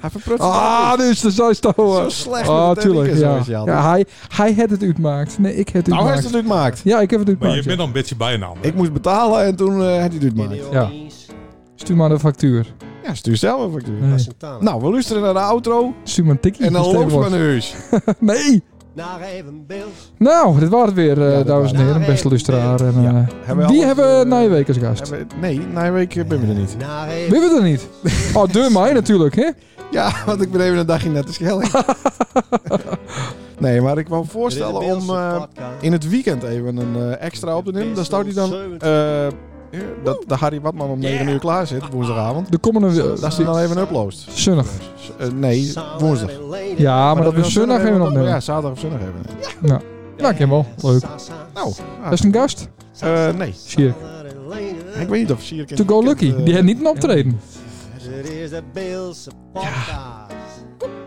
Speaker 2: Hij verprutst
Speaker 1: Ah, dus de
Speaker 2: zo
Speaker 1: zijstouwen.
Speaker 2: slecht
Speaker 1: Ah,
Speaker 2: met de techniek
Speaker 1: tuurlijk.
Speaker 2: is,
Speaker 1: Ja.
Speaker 2: weet je al.
Speaker 1: ja, hij, hij had het uitmaakt. Nee, ik heb het
Speaker 2: Nou, hij heeft het
Speaker 1: uitmaakt.
Speaker 2: uitmaakt.
Speaker 1: Ja, ik heb het
Speaker 4: Maar je
Speaker 1: uitmaakt.
Speaker 4: bent
Speaker 1: ja.
Speaker 4: al een beetje bijnaam.
Speaker 2: Ik moest betalen en toen eh had hij het uitmaakt.
Speaker 1: Ja. Stuur maar de factuur.
Speaker 2: Ja, stuur zelf een factuur.
Speaker 1: Nee.
Speaker 2: Nou, we luisteren naar de outro
Speaker 1: Stuur maar een tikkie.
Speaker 2: en dan
Speaker 1: dus
Speaker 2: lopen we
Speaker 1: tegenwoordig.
Speaker 2: naar huis.
Speaker 1: Nee!
Speaker 3: Naar even beeld.
Speaker 1: Nou, dit was het weer, eh,
Speaker 2: Ja, dat
Speaker 1: dames en
Speaker 3: was-
Speaker 1: heren, beste luisteraar. En, eh,
Speaker 2: Hebben we
Speaker 1: die
Speaker 2: alles,
Speaker 1: hebben we
Speaker 2: eh,
Speaker 1: na je week als gast.
Speaker 2: hebben we- Nee, na een week eh, ben ik er niet.
Speaker 3: Naar even
Speaker 1: Willen we dat niet? Oh, deur mij natuurlijk, hè?
Speaker 2: Ja, want ik ben even een dagje naar de Schelling. nee, maar ik wou voorstellen om eh, in het weekend even een eh, extra op te nemen. Dan staat hij dan... eh, dat de Harry Watman om 9 uur klaar zit, woensdagavond.
Speaker 1: De komende... eh,
Speaker 2: Dat is hij dan even uploads.
Speaker 1: Zonnig.
Speaker 2: Eh, nee, woensdag. Maar
Speaker 1: Ja, maar, dat
Speaker 2: wil
Speaker 1: we zondag even opnemen.
Speaker 2: Ja, zaterdag of zondag even.
Speaker 1: Nou, ik heb wel. Leuk.
Speaker 2: Nou, ah,
Speaker 1: Dat is een gast.
Speaker 2: eh, nee.
Speaker 1: Sierk.
Speaker 2: Ik weet niet of Sierk... in
Speaker 1: To
Speaker 2: het
Speaker 1: go
Speaker 2: weekend,
Speaker 1: lucky.
Speaker 2: eh,
Speaker 1: Die heeft niet een optreden.
Speaker 3: Dit is de Beelse podcast.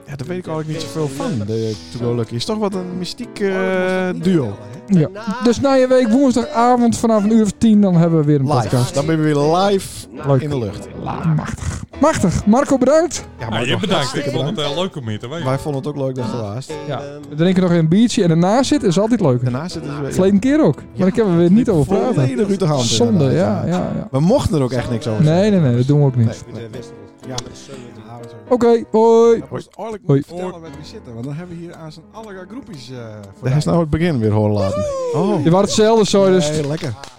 Speaker 2: Ja, daar weet ik eigenlijk niet zoveel van. De To Go Lucky is toch wat een mystiek
Speaker 3: Oh,
Speaker 2: eh, duo.
Speaker 1: Ja. Dus na je week woensdagavond vanaf een uur of tien, dan hebben we weer een
Speaker 2: Live.
Speaker 1: podcast.
Speaker 2: Dan ben je weer live
Speaker 1: Leuk.
Speaker 2: in de lucht.
Speaker 1: La, machtig. Machtig. Marco, bedankt.
Speaker 2: Ja,
Speaker 4: Nou, je bedankt. Ik
Speaker 2: hartstikke
Speaker 4: vond het
Speaker 2: bedankt.
Speaker 4: heel leuk om hier te weten.
Speaker 2: Wij vonden het ook leuk dat je er was.
Speaker 1: Ja. We drinken nog een biertje en daarna zitten is altijd leuk.
Speaker 2: Daarna zitten ze weer...
Speaker 1: Verleden keer ook. Maar ik heb er weer niet over praten.
Speaker 2: Volledig uit de hand.
Speaker 1: Zonde, ja,
Speaker 2: inderdaad,
Speaker 1: ja, ja.
Speaker 2: We mochten er ook echt niks over
Speaker 1: Nee, nee, nee, dat doen we ook niet.
Speaker 3: Ja.
Speaker 1: Oké, hoi.
Speaker 2: Hij moest eigenlijk
Speaker 1: Hoi.
Speaker 2: vertellen waar we zitten, want dan hebben we hier aan zijn allerlei groepjes voor. Hij is nou het begin weer horen laten. Oh,
Speaker 1: Je was hetzelfde, zo dus.
Speaker 2: lekker.